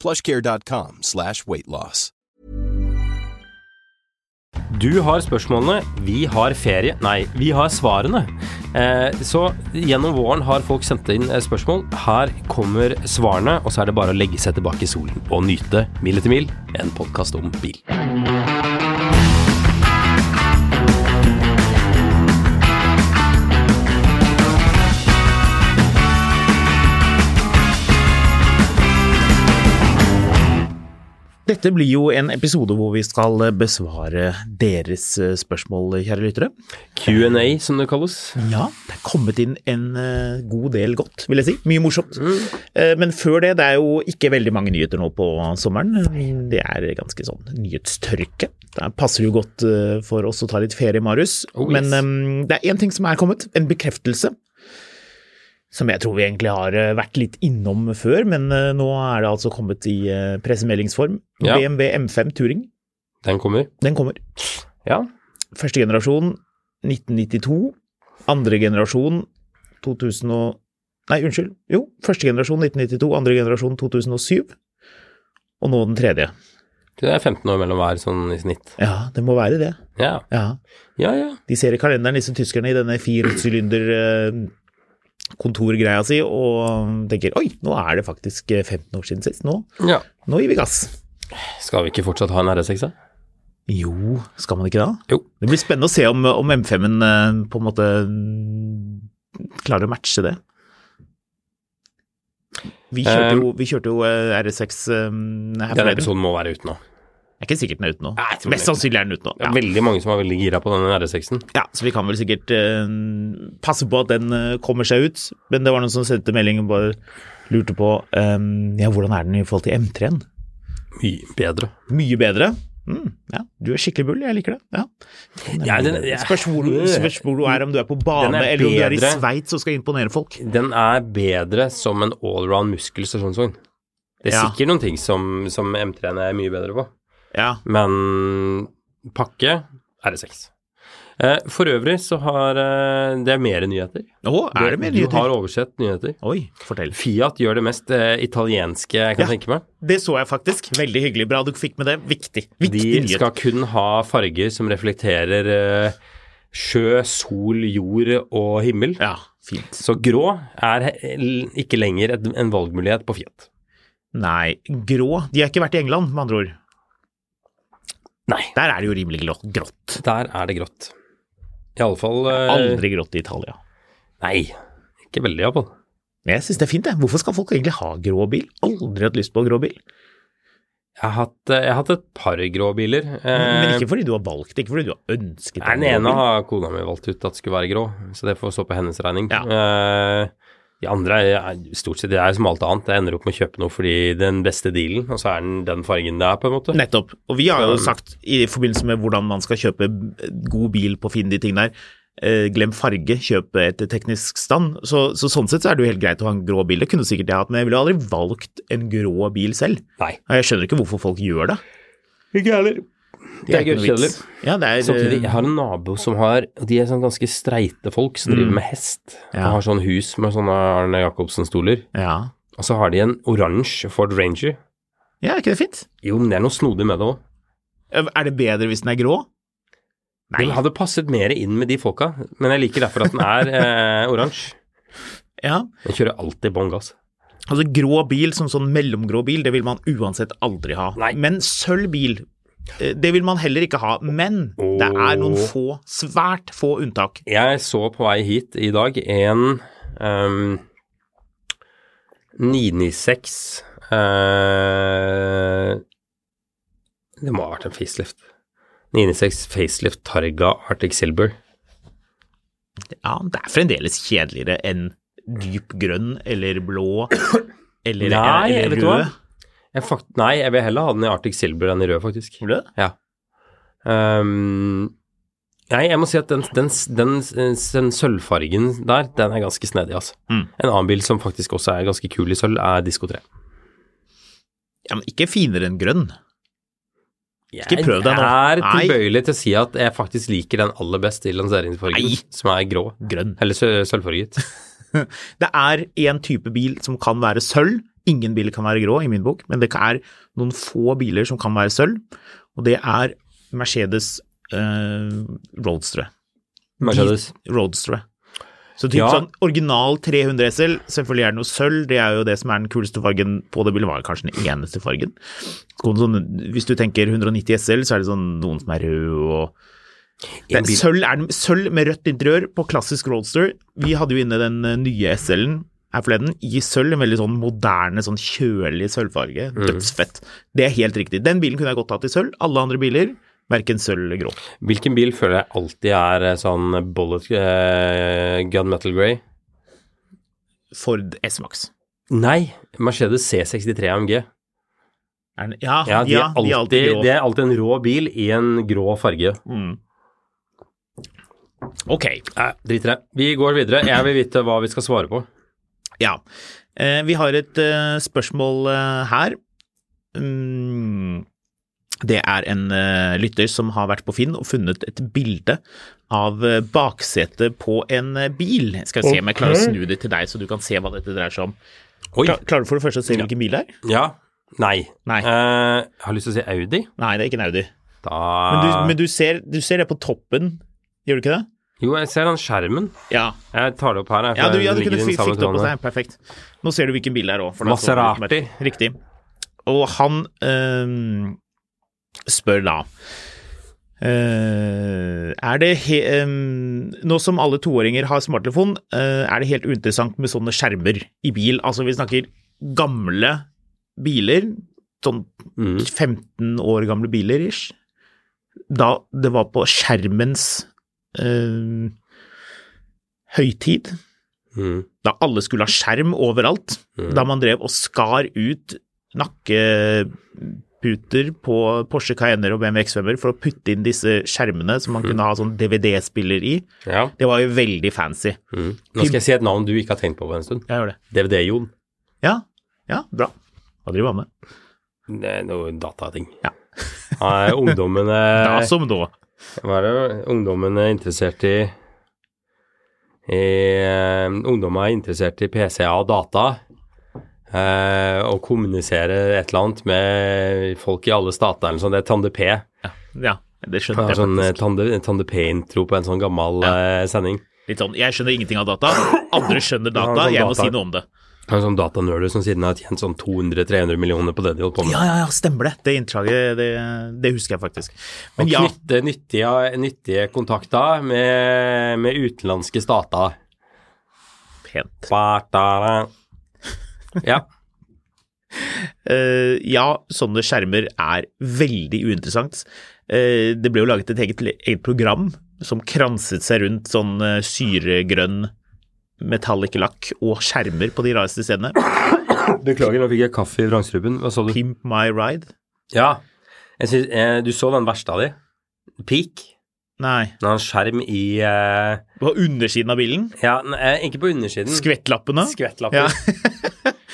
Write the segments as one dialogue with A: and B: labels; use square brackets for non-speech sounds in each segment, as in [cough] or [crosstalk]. A: Plushcare.com slash weight loss.
B: Du har spørsmålene, vi har ferie. Nei, vi har svarene. Eh, så gjennom våren har folk sendt inn eh, spørsmål. Her kommer svarene, og så er det bare å legge seg tilbake i solen og nyte Mil etter mil, en podkast om bil.
C: Dette blir jo en episode hvor vi skal besvare deres eh, spørsmål, kjære lyttere.
B: Q&A, som det kalles.
C: Ja, det er kommet inn en eh, god del godt, vil jeg si. Mye morsomt.
B: Mm.
C: Eh, Men før det, det er jo ikke veldig mange nyheter nå på sommeren. Det er ganske sånn nyhetstørke. Det passer jo godt eh, for oss å ta litt ferie, Marius.
B: Oh, yes.
C: Men eh, det er én ting som er kommet, en bekreftelse. Som jeg tror vi egentlig har eh, vært litt innom før, men eh, nå er det altså kommet i eh, pressemeldingsform.
B: Ja.
C: BMW M5 Touring,
B: Den kommer.
C: den kommer.
B: Ja.
C: Første generasjon 1992. Andre generasjon 2000 og Nei, unnskyld. Jo, første generasjon 1992, andre generasjon 2007. Og nå den tredje.
B: Det er 15 år mellom hver, sånn i snitt.
C: Ja, det må være det.
B: Ja,
C: Ja.
B: ja. ja.
C: De ser i kalenderen, disse tyskerne, i denne firesylinder eh, kontorgreia si, og tenker oi, nå er det faktisk eh, 15 år siden sist. Nå,
B: ja.
C: nå gir vi gass.
B: Skal vi ikke fortsatt ha en RS6, da?
C: Jo, skal man ikke da?
B: Jo.
C: Det blir spennende å se om, om M5-en eh, på en måte mm, klarer å matche det. Vi kjørte
B: Um,
C: jo, vi kjørte jo eh, RS6 eh, her
B: Denne
C: forleden.
B: episoden må være uten nå.
C: Det er ikke sikkert den er ute nå.
B: Nei, jeg tror den er
C: Mest
B: ute.
C: sannsynlig er den ute nå.
B: Det er
C: Ja.
B: veldig mange som er veldig gira på denne RS6-en.
C: Ja, så vi kan vel sikkert eh, passe på at den eh, kommer seg ut. Men det var noen som sendte melding og bare lurte på eh, ja, hvordan er den i forhold til M3-en.
B: Mye bedre.
C: Mye bedre. Mm, ja, du er skikkelig bull, jeg liker det. Ja.
B: Ja, den- ja.
C: spørs, hvor du, spørs hvor du er, om du er på bane
B: Den er
C: eller om du er i
B: bedre.
C: Sveits og skal imponere folk.
B: Den er bedre som en allround muskelstasjonsvogn. Det er
C: Ja.
B: sikkert noen ting som, som M3-en er mye bedre på,
C: Ja,
B: men pakke R6. Eh, for øvrig så har eh, det er mer nyheter.
C: Å, er det mer
B: Du har
C: nyheter?
B: oversett nyheter.
C: Oi, fortell.
B: Fiat gjør det mest eh, italienske jeg kan
C: Ja.
B: tenke meg.
C: Det så jeg faktisk. Veldig hyggelig. Bra du fikk med det. Viktig. Viktig
B: De
C: nyhet.
B: skal kun ha farger som reflekterer eh, sjø, sol, jord og himmel.
C: Ja, fint.
B: Så grå er he- l- ikke lenger et, en valgmulighet på Fiat.
C: Nei, grå De har ikke vært i England, med andre ord.
B: Nei.
C: Der er det jo rimelig glå- grått.
B: Der er det grått. I alle fall eh,
C: Aldri grått i Italia.
B: Nei, ikke veldig iallfall.
C: Men jeg syns det er fint, jeg. Hvorfor skal folk egentlig ha grå bil? Aldri hatt lyst på grå bil.
B: Jeg har hatt, eh, jeg har hatt et par grå biler.
C: Men
B: Eh,
C: ikke fordi du har valgt det, ikke fordi du har ønsket
B: nei, den
C: en grå
B: ene
C: bil.
B: har kona mi valgt ut at skulle være grå, så det får stå på hennes regning.
C: Ja.
B: Eh, de andre er er stort sett det er som alt annet. Jeg ender opp med å kjøpe noe fordi den beste dealen, og så er den den fargen det er, på en måte.
C: Nettopp. Og vi har jo
B: Um,
C: sagt i forbindelse med hvordan man skal kjøpe god bil på Finn, de tingene der, eh, glem farge, kjøp etter teknisk stand. Så, så sånn sett så er det jo helt greit å ha en grå bil. Det kunne sikkert jeg hatt, men jeg ville jo aldri valgt en grå bil selv.
B: Nei.
C: Og jeg skjønner ikke hvorfor folk gjør det.
B: Ikke heller. Det er
C: ikke noe
B: gørrkjedelig.
C: vits. Ja, det er
B: Samtidig, jeg
C: eh,
B: har en nabo som har og De er sånn ganske streite folk som driver med hest.
C: Mm. Ja.
B: Og har sånn hus med sånne Arne Jacobsen-stoler.
C: ja.
B: Og så har de en oransje Ford Ranger.
C: ja, er ikke det fint?
B: Jo, men det er noe snodig med det òg.
C: Er det bedre hvis den er grå? Nei.
B: Den hadde passet mer inn med de folka, men jeg liker derfor at den [laughs] er eh, oransje.
C: Ja.
B: Den kjører alltid bånn gass.
C: Altså grå bil som sånn mellomgrå bil, det vil man uansett aldri ha.
B: Nei.
C: Men sølv bil, eh, det vil man heller ikke ha. Men det er noen
B: Åh.
C: få, svært få unntak.
B: Jeg så på vei hit i dag en ehm, 996 eh, Det må ha vært en facelift. 996 facelift Targa Arctic Silver.
C: Ja, det er fremdeles
B: [coughs]
C: kjedeligere enn dyp grønn eller blå eller,
B: Nei,
C: eller
B: vet du hva?
C: rød.
B: Jeg fakt nei, jeg vil heller ha den i Arctic Silver enn i rød, faktisk.
C: Vil du det?
B: Ja. Ehm, nei, jeg må si at den, den, den, den sølvfargen der, den er ganske snedig, altså.
C: Mm.
B: En annen bil som faktisk også er ganske kul i sølv, er Disko 3.
C: Ja, men ikke finere enn grønn.
B: Jeg
C: prøv deg nå.
B: er
C: Nei.
B: tilbøyelig til å si at jeg faktisk liker den aller best i lanseringsfargen,
C: Nei.
B: som er grå.
C: Grønn.
B: Eller sø-
C: [laughs]
B: sølvfarget.
C: Det er én type bil som kan være sølv. Ingen biler kan være grå i min bok, men det er noen få biler som kan være sølv, og det er Mercedes eh, Roadster.
B: Mercedes.
C: Roadster. Så typ
B: Ja.
C: sånn original 300 SL, selvfølgelig er det noe sølv, det er jo det som er den kuleste fargen på det bildet, var kanskje den eneste fargen. Så Sånn, hvis du tenker 190 SL, så er det sånn noen som er rød og
B: En
C: det,
B: bil-
C: sølv, er, den- sølv med rødt interiør på klassisk Roadster. Vi hadde jo inne den eh, nye SL-en her forleden i sølv, en veldig sånn moderne, sånn kjølig sølvfarge. Dødsfett. Det er helt riktig. Den bilen kunne jeg godt hatt i sølv. Alle andre biler, verken sølv eller grå.
B: Hvilken bil føler jeg alltid er eh, sånn bullet eh, gunmetal grey?
C: Ford S-Max.
B: Nei, Mercedes C63 AMG.
C: Er den- Ja,
B: Ja, de er alltid,
C: grå.
B: Det er alltid en rå bil i en grå farge.
C: Mm. Ok.
B: Nei, drit i det. Vi går videre. Jeg vil vite hva vi skal svare på.
C: Ja. Eh, vi har et eh, spørsmål eh, her. Mm. Det er en eh, lytter som har vært på Finn og funnet et bilde av eh, baksetet på en eh, bil. Skal vi se om jeg klarer å snu det til deg, så du kan se hva dette dreier seg om.
B: Oi.
C: Kla- Klarer du for det første å se hvilken bil det er?
B: Ja. Nei.
C: Nei.
B: Eh, jeg har lyst til å si Audi.
C: Nei, det er ikke en Audi.
B: Da
C: Men du,
B: Ah.
C: men du, ser, du ser det på toppen, gjør du ikke det?
B: Jo, jeg ser den skjermen.
C: Ja.
B: Jeg tar det opp her. jeg,
C: Ja,
B: for
C: du,
B: den
C: ja, du
B: ligger i
C: kunne
B: den
C: fi-
B: samme
C: fikk det opp hos
B: tråden.
C: deg. Perfekt. Nå ser du hvilken bil det er òg.
B: Maserati.
C: Riktig. Og han øhm, spør da øh, Er det he, øhm, Nå som alle toåringer har smarttelefon, øh, er det helt uinteressant med sånne skjermer i bil? Altså, vi snakker gamle biler, sånn
B: Mm.
C: 15 år gamle biler ish, da det var på skjermens øh, høytid
B: Mm.
C: da alle skulle ha skjerm overalt, da man drev og skar ut nakkeputer på Porsche Cayenner og BMW X5-er for å putte inn disse skjermene som man kunne ha sånn DVD-spiller i.
B: Ja.
C: Det var jo veldig fancy.
B: Mm. Nå skal jeg si et navn du ikke har tenkt på på en stund.
C: Jeg gjør det.
B: DVD-Jon.
C: Ja, ja, bra. Hva driver han med?
B: Det er noe datating. Eh,
C: Ja.
B: Er ungdommene [laughs]
C: Da som da.
B: Hva er det ungdommen er interessert i? i eh, ungdommen er interessert i PCA og data. Eh, og kommunisere et eller annet med folk i alle stater. Eller sånn. Det er Tande P.
C: Ja, det
B: Det
C: skjønte
B: er
C: jeg
B: sånn eh,
C: faktisk.
B: Tande, Tande P-intro på en sånn gammel eh, sending.
C: Litt sånn, jeg skjønner ingenting av data, andre skjønner data, jeg må si noe om det.
B: Det er En sånn datanerder som siden har tjent sånn 200-300 millioner på det de holdt på med.
C: Ja, ja, ja, stemmer det. Det innslaget, det, det husker jeg faktisk. Men
B: Og
C: ja,
B: knytte nyttige, nyttige kontakter med, med utenlandske
C: [laughs]
B: stater.
C: pent.
B: Bartara. Ja.
C: Eh, ja, sånne skjermer er veldig uinteressant. Eh, det ble jo laget et eget, eget program som kranset seg rundt sånn eh, syregrønn metallic lakk og skjermer på de rareste
B: [coughs]
C: stedene.
B: Beklager, nå fikk jeg kaffe i vrangstrupen. Hva sa du?
C: Pimp my ride?
B: Ja. Jeg synes, eh, du så den verste av de. Peak.
C: Nei.
B: Den har en skjerm i eh,
C: På undersiden av bilen?
B: Ja, n- eh, ikke på undersiden. Eh,
C: Skvettlappene?
B: Skvettlapper.
C: Ja.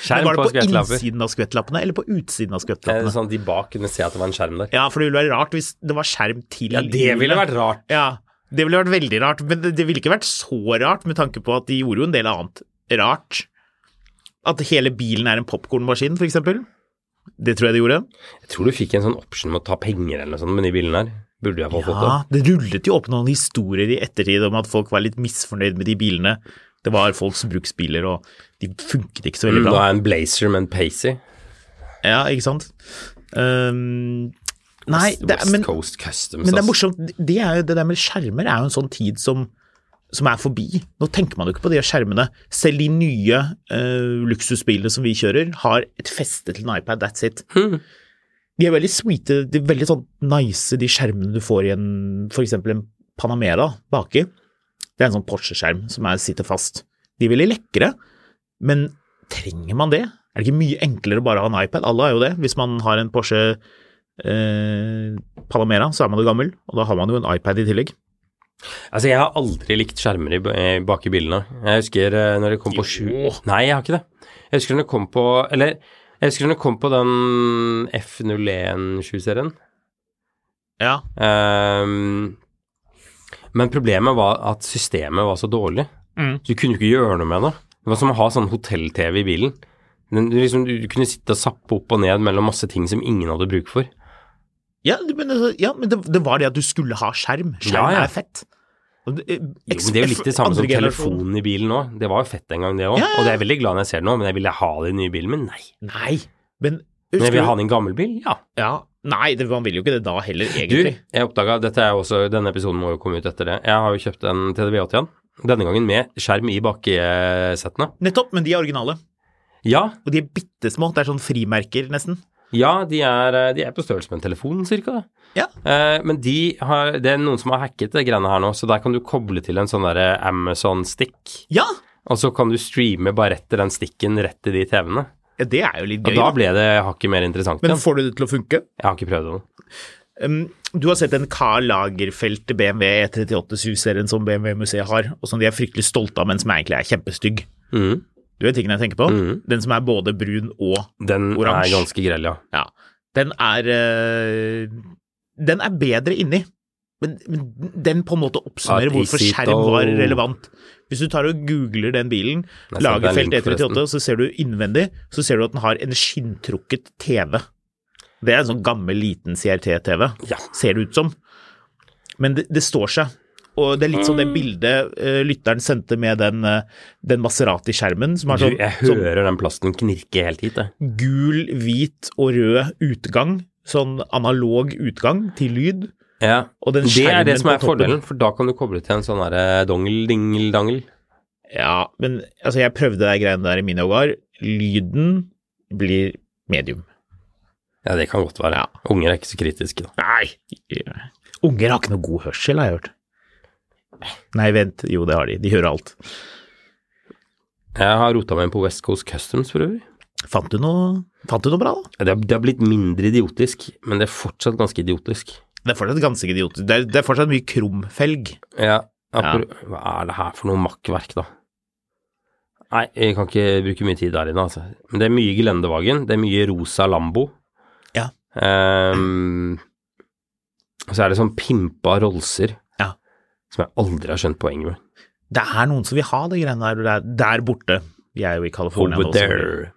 B: Skjerm
C: var
B: på
C: det på
B: skvettlapper.
C: innsiden av skvettlappene eller på utsiden av
B: Eh,
C: skvettlappene?
B: sånn at de bak kunne se at det var en skjerm der.
C: Ja, for det ville være rart hvis det var skjerm til
B: Ja, det ville
C: hjulene.
B: vært rart.
C: Ja, det ville vært veldig rart, men det- det ville ikke vært så rart med tanke på at de gjorde jo en del annet rart. At hele bilen er en popkornmaskin, for eksempel. Det tror jeg de gjorde.
B: Jeg tror du fikk en sånn option med å ta penger eller noe sånt med de bilene her. Burde jeg få fått det.
C: Ja, det rullet jo opp noen historier i ettertid om at folk var litt misfornøyd med de bilene. Det var folks bruksbiler, og de funket ikke så
B: Mm,
C: veldig
B: Da
C: bra.
B: er en blazer med en pacey.
C: Ja, ikke sant? Ehm, nei, det, er-
B: West
C: men
B: Coast Customs.
C: Men det er
B: ass.
C: morsomt, det, er jo, det der med skjermer er jo en sånn tid som, som er forbi. Nå tenker man jo ikke på de skjermene. Selv de nye eh, luksusbilene som vi kjører, har et feste til en iPad, that's it. De er veldig sweete, de er veldig sånn nice, de skjermene du får i en, for eksempel en Panamera baki. Det er en sånn Porsche-skjerm som er, sitter fast. De er veldig lekre, men trenger man det? Er det ikke mye enklere å bare ha en iPad? Alle har jo det. Hvis man har en Porsche eh, Palomera, så er man jo gammel, og da har man jo en iPad i tillegg.
B: Altså, jeg har aldri likt skjermer i, i bak i bilene. Jeg husker eh, når det kom på sju
C: Jo.
B: Nei, jeg har ikke det. Jeg husker når det kom på Eller, jeg husker når det kom på den F017-serien.
C: Ja,
B: Ehm, men problemet var at systemet var så dårlig.
C: Mm.
B: Så du kunne jo ikke gjøre noe med det. Det var som å ha sånn hotell-TV i bilen. Den, du, liksom, du kunne sitte og sappe opp og ned mellom masse ting som ingen hadde bruk for.
C: ja, du- men, altså, ja men det, det var det at du skulle ha skjerm. Skjerm
B: Ja, ja.
C: er fett. Og det- eh,
B: Jo, men det er jo litt det samme som
C: andre generasjon.
B: telefonen i bilen nå. Det var jo fett en gang, det òg.
C: Ja, ja.
B: Og det er jeg veldig glad når jeg ser det nå, men jeg ville ha det i den nye bilen min. Nei.
C: Nei, men
B: Men jeg
C: husker
B: vil ha
C: du
B: den i en gammel bil, ja.
C: ja, Nei, det, man vil jo ikke det da heller,
B: Du,
C: egentlig.
B: jeg oppdaga Dette er jo også Denne episoden må jo komme ut etter det. Jeg har jo kjøpt en TDV81. Denne gangen med skjerm i baksettene.
C: Nettopp, men de er originale.
B: Ja,
C: Og de er bitte små. Det er sånn frimerker, nesten.
B: Ja, de er, eh, de er på størrelse med en telefon, cirka.
C: Ja.
B: Eh, men de har, det er noen som har hacket det greiene her nå, så der kan du koble til en sånn derre Amazon-stick,
C: Ja!
B: og så kan du streame bare etter den stikken rett til de TV-ene.
C: ja det er jo litt
B: Og da
C: gøy. da.
B: ble det hakket mer interessant
C: Men
B: igjen.
C: får du det til å funke?
B: Jeg har ikke prøvd det. nå.
C: Um, du har sett den Karl Lagerfeldt BMW E38-serien E som BMW-museet har, og som de er fryktelig stolte av, men som egentlig er kjempestygg.
B: Mm.
C: Du vet tingen jeg tenker på?
B: Mhm.
C: Den som er både brun og
B: Den
C: Oransje.
B: er ganske grell, ja.
C: Ja. Den er eh, Den er bedre inni, men, men den på en måte oppsummerer hvorfor
B: Artisito.
C: skjerm var relevant. Hvis du tar og googler den bilen,
B: Jeg sendte deg en
C: Lagerfeldt
B: link, forresten.
C: E38, og så ser du innvendig, så ser du at den har en skinntrukket TV. Det er en sånn gammel, liten CRT-TV,
B: Ja.
C: ser det ut som. Men det, det står seg. Og det er litt som
B: Mm.
C: det bildet eh, lytteren sendte med den, eh, den Maserati-skjermen, som har
B: Du,
C: sånn,
B: jeg
C: sånn
B: hører den plasten knirke helt hit, jeg.
C: gul, hvit og rød utgang. Sånn analog utgang til lyd.
B: Ja.
C: Og den
B: Det er
C: skjermen
B: det som
C: på
B: er
C: toppen.
B: fordelen, for da kan du koble til en sånn derre dongel-dingel-dangel.
C: Ja, men altså, jeg prøvde de greiene der i mine år. Lyden blir medium.
B: Ja, det kan godt være.
C: Ja.
B: Unger er ikke så kritiske, da.
C: Nei! Unger har ikke noe god hørsel, har jeg hørt. Nei, vent. Jo, det har de. De hører alt.
B: Jeg har rota meg inn på West Coast Customs for øvrig.
C: Fant du noe, fant du noe bra, da?
B: Ja, Det har, det har blitt mindre idiotisk, men det er fortsatt ganske idiotisk.
C: Det er fortsatt ganske idiotisk. Det er, det er fortsatt mye krumfelg.
B: Ja, appro- Hva er det her for noe makkverk, da? Nei, jeg kan ikke bruke mye tid der inne, altså. Men det er mye Gelendevagen, det er mye rosa Lambo.
C: Ja.
B: Ehm, og så er det sånn pimpa Rollser,
C: Ja.
B: som jeg aldri har skjønt poenget med.
C: Det er noen som vil ha de greiene der, der, der borte. Vi er jo i California
B: Over
C: nå. så-
B: there.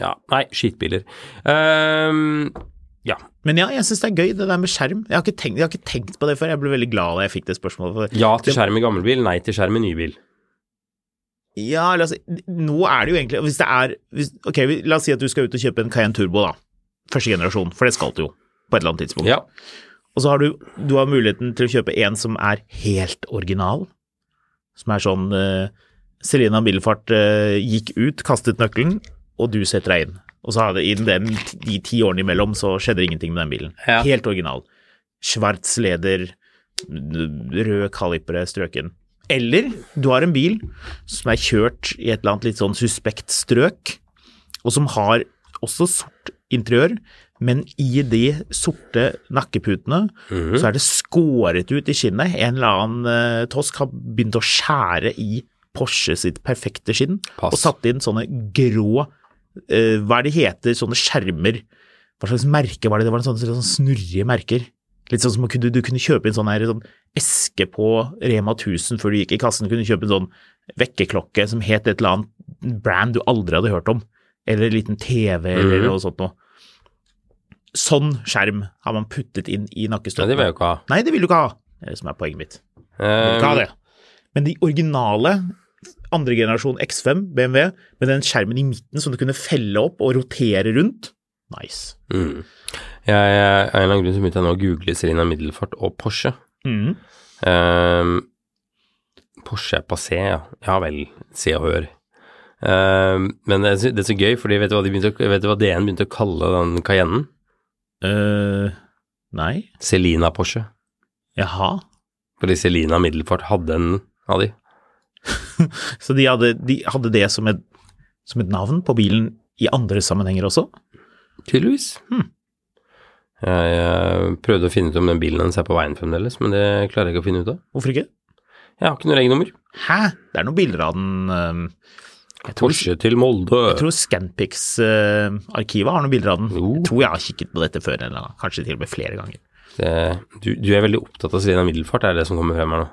B: Ja, nei, skitbiler. Ehm,
C: Men ja, jeg syns det er gøy, det der med skjerm. Jeg har ikke tenkt, jeg har ikke tenkt på det før. Jeg ble veldig glad da jeg fikk det spørsmålet. For
B: ja til skjerm i gammel bil, nei til skjerm i ny bil.
C: ja, la oss si Nå er det jo egentlig Hvis det er hvis, Ok, vi- la oss si at du skal ut og kjøpe en Cayenne Turbo, da. Første generasjon, for det skal du jo. På et eller annet tidspunkt.
B: Ja.
C: Og så har du, du har muligheten til å kjøpe en som er helt original. Som er sånn eh, Selina Millefart eh, gikk ut, kastet nøkkelen, og du setter deg inn. Og så har det i den, de ti årene imellom så skjedde det ingenting med den bilen.
B: Ja.
C: Helt original. Schwartz leder, rød kalipere strøken. Eller du har en bil som er kjørt i et eller annet litt sånn suspekt strøk, og som har også sort interiør, men i de sorte nakkeputene så er det skåret ut i skinnet. En eller annen eh, tosk har begynt å skjære i Porsche sitt perfekte skinn,
B: Pass.
C: og satt inn sånne grå eh, Hva er det heter, sånne skjermer? Hva slags merke var det? Det var en sånn, sånn snurrige merker. Litt sånn som å kunne, du kunne kjøpe en sånn, her, sånn eske på Rema 1000 før du gikk i kassen. Kunne kjøpe en sånn vekkerklokke som het et eller annet brand du aldri hadde hørt om. Eller en liten TV eller
B: Mhm.
C: noe sånt noe. Sånn skjerm har man puttet inn i
B: Ja, det
C: nakkestøtten.
B: vil jeg jo ikke ha.
C: Nei, det vil du ikke ha. Det er det som er poenget mitt. Du
B: Ehm,
C: vil ikke ha det. Men de originale, andre generasjon X5 BMW, med den skjermen i midten som du kunne felle opp og rotere rundt, nice.
B: Mm. Jeg, jeg, av en eller annen grunn så begynte jeg nå å google Selina Middelfart og Porsche.
C: Mhm.
B: Ehm, Porsche er passé, ja. Ja vel, se og hør. Ehm, men det er, så, det er så gøy, fordi vet du, hva de begynte, å- vet du hva DN begynte å kalle den Cayennen?
C: Eh, nei.
B: Selina Porsche.
C: Jaha.
B: Fordi Selina Middelfart hadde en av de.
C: Så de hadde, de hadde det som et som et navn på bilen i andre sammenhenger også.
B: Tydeligvis. Jeg eh, prøvde å finne ut om den bilen hennes er på veien fremdeles, men det klarer jeg ikke å finne ut av.
C: Hvorfor ikke?
B: Jeg har ikke noe regnummer.
C: Hæ? Det er noen bilder av den eh,
B: Porsche til Molde.
C: Jeg tror Scanpix-arkivet har noen bilder av den.
B: Jo.
C: Jeg tror jeg har kikket på dette før, eller kanskje til og med flere ganger.
B: Det, du, du er veldig opptatt av Selina Middelfart, er det det som kommer frem her nå?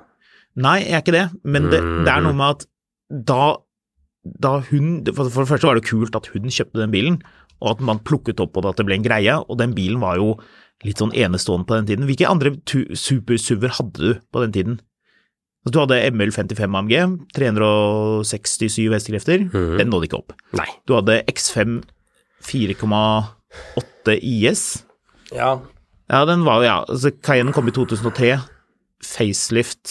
C: Nei, jeg er ikke det, men det, det er noe med at da, da hun for, for det første var det kult at hun kjøpte den bilen, og at man plukket opp på det at det ble en greie, og den bilen var jo litt sånn enestående på den tiden. Hvilke andre tu- supersuver hadde du på den tiden? Altså, Du hadde ML55 AMG, 367 hestekrefter, den nådde ikke opp.
B: Nei.
C: Du hadde X5 4,8 IS.
B: Ja.
C: Ja, den var ja. Altså, Cayenne kom i 2003. Facelift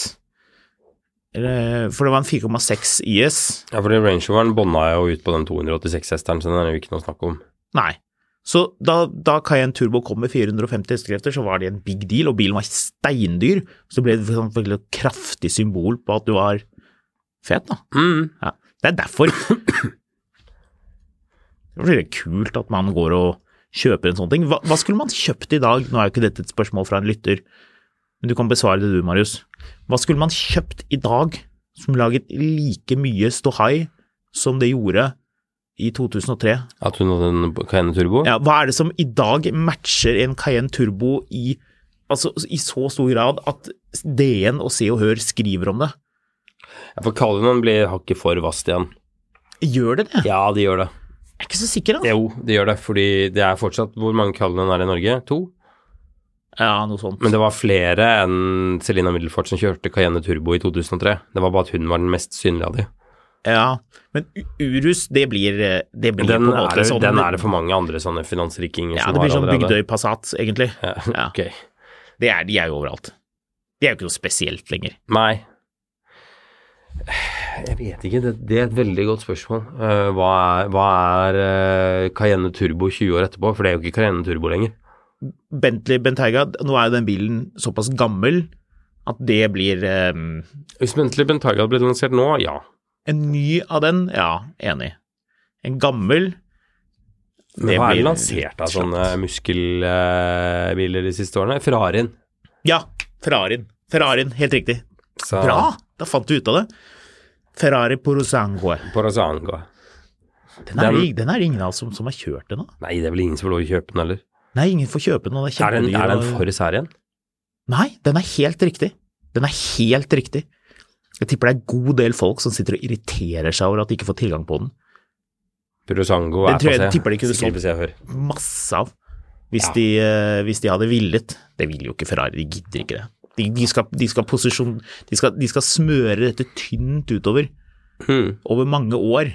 C: Eller, For det var en 4,6 IS.
B: ja, for den Range Roveren bånda jo ut på den 286-hesteren, så den er det jo ikke noe snakk om.
C: Nei. Så da, da Cayenne Turbo kom med 450 hestekrefter, så var det en big deal, og bilen var steindyr. Så det ble et sånn veldig kraftig symbol på at du var fet, da.
B: Mm.
C: Ja. Det er [coughs] derfor. Det er veldig kult at man går og kjøper en sånn ting. Hva, hva skulle man kjøpt i dag? Nå er jo ikke dette et spørsmål fra en lytter, men du kan besvare det du, Marius. Hva skulle man kjøpt i dag som laget like mye ståhai som det gjorde i 2003?
B: At hun hadde en Cayenne Turbo?
C: Ja, hva er det som i dag matcher en Cayenne Turbo i, altså, i så stor grad at DN og Se og Hør skriver om det?
B: Ja, For Kalvinen blir hakket for vasst igjen.
C: Gjør det det?
B: Ja, de gjør det.
C: Jeg er ikke så sikker, da.
B: Jo, de gjør det, fordi det er fortsatt Hvor mange Kalvinen er det i Norge? To?
C: Ja, noe sånt.
B: Men det var flere enn Selina Middelfart som kjørte Cayenne Turbo i 2003. Det var bare at hun var den mest synlige av de.
C: Ja, men U- Urus, det blir, eh, det blir
B: Den
C: på en
B: er,
C: måte
B: det,
C: sånn
B: den er det for mange andre sånne finansrikinger
C: Ja,
B: som
C: det
B: har
C: blir sånn
B: allerede.
C: Bygdøy Passat, egentlig.
B: Ja,
C: Ja.
B: ok.
C: Det er, de er jo overalt. De er jo ikke noe spesielt lenger.
B: Nei. Jeg vet ikke, det, det er et veldig godt spørsmål. Eh, hva er, hva er eh, Cayenne Turbo 20 år etterpå? For det er jo ikke Cayenne Turbo lenger.
C: Bentley Bentayga, nå er jo den bilen såpass gammel at det blir eh,
B: Hvis Bentley Bentayga hadde blitt lansert nå, ja.
C: En ny av den, ja, enig. En gammel
B: Men
C: Det
B: hva er det
C: blir
B: lansert av
C: slapt.
B: sånne muskelbiler de siste årene? Ferrarien.
C: Ja, Ferrarien. Ferrarien, helt riktig.
B: Så,
C: Bra! Da fant du ut av det. Ferrari Porosangue.
B: Porazango.
C: Den er,
B: Den-
C: den, den er det ingen av oss som, som har kjørt ennå.
B: Nei, det er vel ingen som får lov å kjøpe den heller.
C: Nei, ingen får kjøpe den. og Det er
B: Er den,
C: kjempedyr,
B: er den
C: og-
B: for sær igjen?
C: Nei, den er helt riktig. Den er helt riktig. Jeg tipper det er en god del folk som sitter og irriterer seg over at de ikke får tilgang på den.
B: Purosango
C: Den
B: er
C: tror jeg-
B: passé.
C: tipper de kunne
B: Sikkert
C: solgt.
B: hvis jeg hører.
C: Masse av. Hvis,
B: Ja.
C: de, eh, hvis de hadde villet. Det vil jo ikke Ferrari, de gidder ikke det. De, de, skal, de, skal, posisjon, de, skal, de skal smøre dette tynt utover,
B: Hmm.
C: over mange år.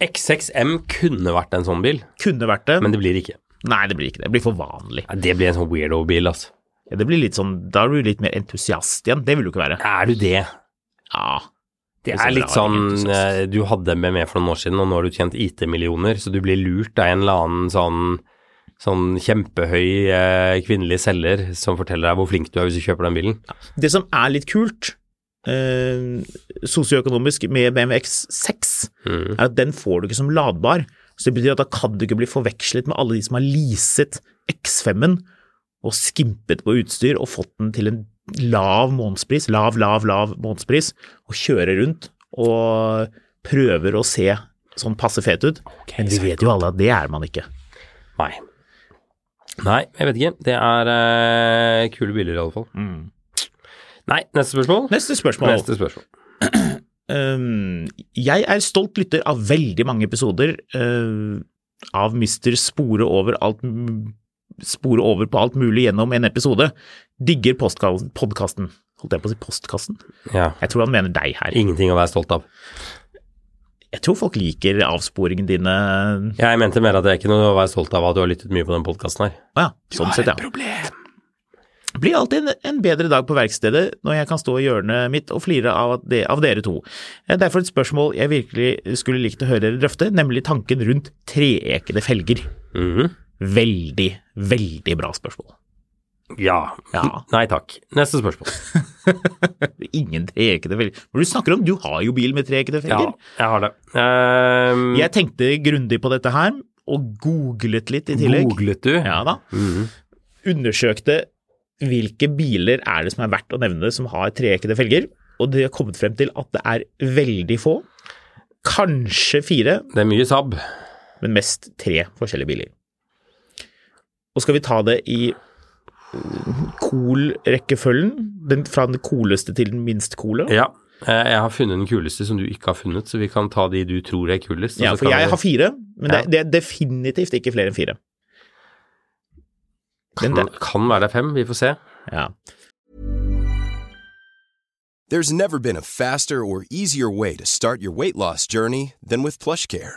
B: X6M kunne vært en sånn bil,
C: Kunne vært det.
B: men det blir ikke.
C: Nei, det blir ikke det. Det blir for vanlig.
B: Ja, Det blir en sånn weirdo-bil, altså.
C: Ja, Det blir litt sånn, da er du litt mer entusiast igjen. Det vil du ikke være.
B: Er du det?
C: Ja,
B: Det
C: Hvis
B: er
C: jeg
B: litt
C: drar
B: sånn
C: ingen entusiast.
B: eh, Du hadde MME for noen år siden, og nå har du tjent IT-millioner, så du blir lurt av en eller annen sånn, sånn kjempehøy eh, kvinnelig selger som forteller deg hvor flink du er hvis du kjøper den bilen.
C: Det som er litt kult eh, sosioøkonomisk med BMX 6,
B: Mhm.
C: er at den får du ikke som ladbar. Så det betyr at da kan du ikke bli forvekslet med alle de som har leaset X5-en og skimpet på utstyr og fått den til en lav månedspris, lav, lav, lav månedspris, og kjører rundt og prøver å se sånn passe fet ut. Men vi vet jo alle at det er man ikke.
B: Nei. Nei, jeg vet ikke. Det er eh, kule biler, i alle fall.
C: Hmm.
B: Nei, neste spørsmål.
C: Neste spørsmål.
B: Neste spørsmål.
C: Ehm, jeg er stolt lytter av veldig mange episoder eh, av Mister Spore over alt m- Spore over på alt mulig gjennom en episode. Digger postka- podkasten. Holdt jeg på å si postkassen?
B: Ja.
C: Jeg tror han mener deg her.
B: Ingenting å være stolt av.
C: Jeg tror folk liker avsporingen dine.
B: Jeg mente mer at det er ikke noe å være stolt av at du har lyttet mye på den podkasten her.
C: Å ja, sånn sett, ja.
B: problem.
C: Blir alltid en, en bedre dag på verkstedet når jeg kan stå i hjørnet mitt og flire av, at det, av dere to. Eh, Derfor et spørsmål jeg virkelig skulle likt å høre dere drøfte, nemlig tanken rundt treekede felger.
B: Mhm.
C: Veldig, veldig bra spørsmål.
B: Ja.
C: Ja.
B: [laughs] Nei takk. Neste spørsmål.
C: Ingen treekkede felger. Hva er det du snakker om? Du har jo bil med treekkede
B: Ja,
C: felger.
B: jeg har det. Ehm,
C: Jeg tenkte grundig på dette her, og googlet litt i tillegg.
B: Googlet du?
C: Ja da.
B: Mhm.
C: Undersøkte hvilke biler er det som er verdt å nevne som har treekkede felger, og de har kommet frem til at det er veldig få. Kanskje fire,
B: Det er mye Saab.
C: men mest tre forskjellige biler. Og skal vi ta det i cool-rekkefølgen? Den fra den cooleste til den minst coole?
B: Ja. Eh, Jeg har funnet den kuleste som du ikke har funnet, så vi kan ta de du tror er kulest. og
C: Ja,
B: så
C: for
B: kan
C: jeg
B: vi-
C: har fire, men det,
B: Ja.
C: det er definitivt ikke flere enn fire. Men
B: kan,
C: det,
B: kan være det er fem, vi får se.
C: ja.
A: There's never been a faster or easier way to start your weight loss journey than with PlushCare.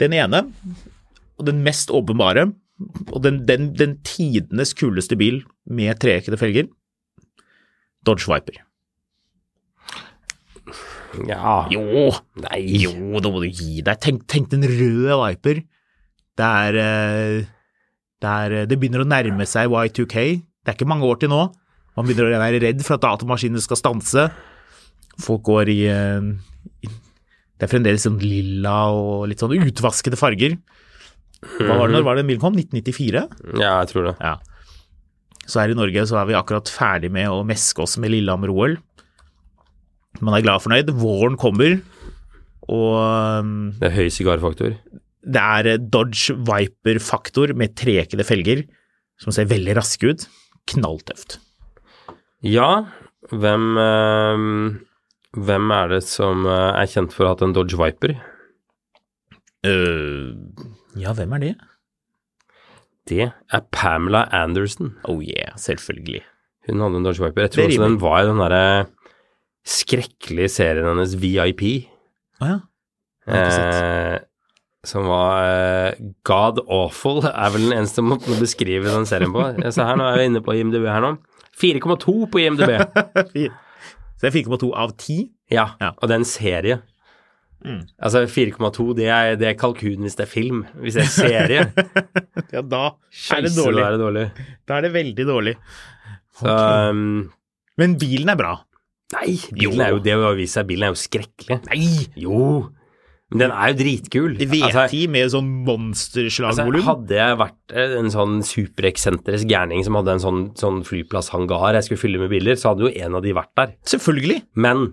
C: Den ene, og den mest åpenbare, og den, den, den tidenes kuleste bil med treekkede felger, Dodge Viper.
B: Ja.
C: Jo,
B: Nei.
C: jo, nå må du gi deg. Tenk, tenk den røde Viper. Det er, eh, det er eh, Det begynner å nærme seg Y2K. Det er ikke mange år til nå. Man begynner å være redd for at datamaskinene skal stanse. Folk går i eh, i- Det er fremdeles sånn lilla og litt sånn utvaskede farger. Hva var det når var det den bilen kom? 1994?
B: Ja, jeg tror det.
C: Ja. Så her i Norge så er vi akkurat ferdig med å meske oss med Lillehammer-OL. Man er glad og fornøyd. Våren kommer, og um,
B: Det er høy sigarfaktor.
C: det er Dodge Viper-faktor med treekkede felger som ser veldig raske ut. Knalltøft.
B: Ja, hvem eh, Hvem er det som eh, er kjent for å ha hatt en Dodge Viper?
C: Øh, ja, hvem er det?
B: Det er Pamela Anderson.
C: Oh yeah, selvfølgelig.
B: Hun hadde en Dodge Viper. Jeg
C: Det
B: tror også
C: rimer.
B: den var i den derre skrekkelige serien hennes VIP,
C: Å ja. Jeg har ikke [laughs] sett.
B: eh, som var eh, God Awful, er vel den eneste måten å beskrive den serien på. Så her nå er jeg inne på IMDb her nå. 4,2 på
C: [laughs]
B: IMDb.
C: Fy- Så jeg fikk på to av ti.
B: Ja,
C: Ja. Mm.
B: og det er en serie. Altså 4,2, det er, det er kalkun hvis det er film. Hvis det er serie,
C: Ja, da er det
B: scheisse, da
C: dårlig.
B: er det dårlig.
C: Da er det veldig dårlig.
B: Så, um,
C: Men bilen er bra.
B: nei, bilen
C: Jo.
B: er jo det å vise seg, bilen er jo skrekkelig.
C: Nei!
B: Jo, men den er jo dritkul.
C: V10
B: Altså,
C: med sånn
B: altså,
C: monsterslagvolum.
B: hadde jeg vært eh, en sånn supereksentrisk gærning som hadde en sånn, sånn flyplasshangar jeg skulle fylle med biler, så hadde jo en av de vært der.
C: Selvfølgelig.
B: Men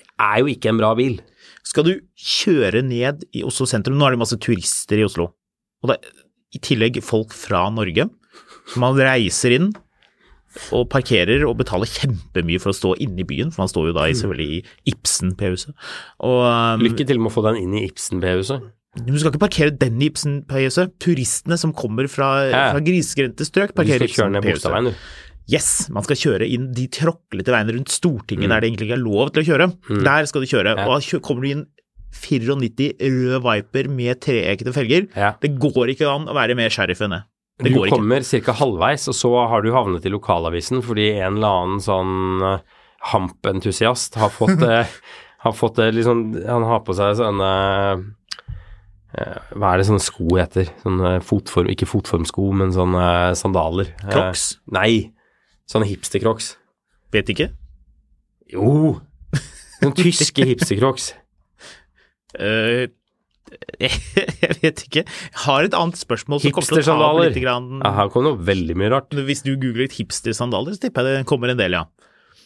B: det er jo ikke en bra bil.
C: Skal du kjøre ned i Oslo sentrum Nå er det masse turister i Oslo. Og det er i tillegg folk fra Norge. Så man reiser inn og parkerer og betaler kjempemye for å stå inne i byen, for man står jo da i, selvfølgelig i Ibsen-P-huset. Og um,
B: Lykke til med å få den inn i Ibsen-behuset.
C: du skal ikke parkere den i Ibsen-P-huset. Turistene som kommer fra,
B: Ja.
C: fra grisgrendte strøk,
B: Du
C: parkerer
B: skal
C: i
B: kjøre ned
C: Ibsen-P-huset.
B: Bogstadveien, du.
C: Yes, man skal kjøre inn de tråklete veiene rundt Stortinget der det egentlig ikke er lov til å kjøre. Der skal du kjøre.
B: Mm. Ja.
C: Og da kjø- kommer du inn 94 rød Viper med treekkede felger.
B: Ja.
C: Det går ikke an å være med sheriff enn det. Det
B: du
C: går ikke.
B: kommer ca. halvveis, og så har du havnet i lokalavisen fordi en eller annen sånn eh, hampentusiast har
C: [laughs]
B: fått, eh, har fått eh, liksom, Han har på seg sånne eh, eh, Hva er det sånne sko heter? Sånne fotform, ikke fotformsko, men sånne sandaler. Eh,
C: Crocs?
B: Nei. Sånne hipstercrocs.
C: Vet ikke.
B: Jo! Sånne tyske
C: [laughs]
B: hipstercrocs.
C: Eh, [laughs] jeg vet ikke. Jeg har et annet spørsmål som kommer til å ta opp
B: Hipstersandaler.
C: litt grann.
B: Ja, her kom det opp veldig mye rart.
C: Hvis du googler hipstersandaler, så tipper jeg det kommer en del, ja.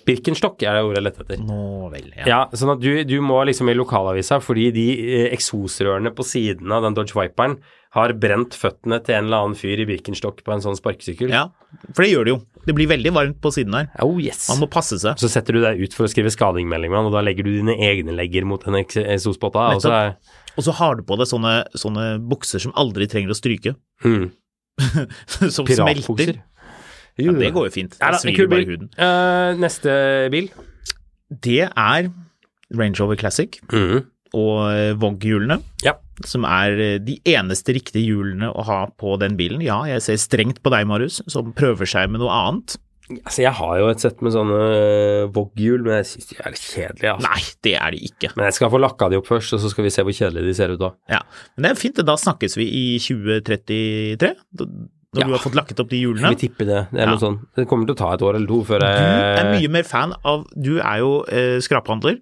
B: Birkenstock er det ordet jeg lette etter.
C: Nå vel, ja.
B: Ja, sånn at du, du må liksom i lokalavisa, fordi de eh, eksosrørene på siden av den Dodge Viperen har brent føttene til en eller annen fyr i Birkenstock på en sånn sparkesykkel.
C: ja. For det gjør det jo. Det blir veldig varmt på siden her.
B: Oh yes.
C: Man må passe seg.
B: Så setter du deg ut for å skrive skadingmelding med han, og da legger du dine egne legger mot den eks- eksospotta. Og så er
C: Og så har du på deg sånne, sånne bukser som aldri trenger å stryke. [laughs]
B: mm,
C: som smelter.
B: Piratbukser.
C: Ja, det går jo fint. Da
B: Neida, en
C: svir
B: kul
C: det bare i
B: bil.
C: huden.
B: Eh, neste bil.
C: Det er Range Rover Classic og eh, Vogue-hjulene.
B: Ja.
C: som er eh, de eneste riktige hjulene å ha på den bilen. Ja, jeg ser strengt på deg, Marius, som prøver seg med noe annet.
B: Altså, jeg har jo et sett med sånne eh, Vogue-hjul, men jeg syns de er litt kjedelige. Altså.
C: Nei, det er det ikke.
B: Men jeg skal få lakka de opp først, og så skal vi se hvor kjedelige de ser ut da.
C: Ja, Men det er fint, da snakkes vi i 2033. Da- Når
B: Ja.
C: du har fått lakket opp de hjulene.
B: Vi tipper det. Det, er
C: Ja.
B: noe sånn. det kommer til å ta et år eller to før
C: Du
B: jeg
C: er mye mer fan av Du er jo eh, skraphandler.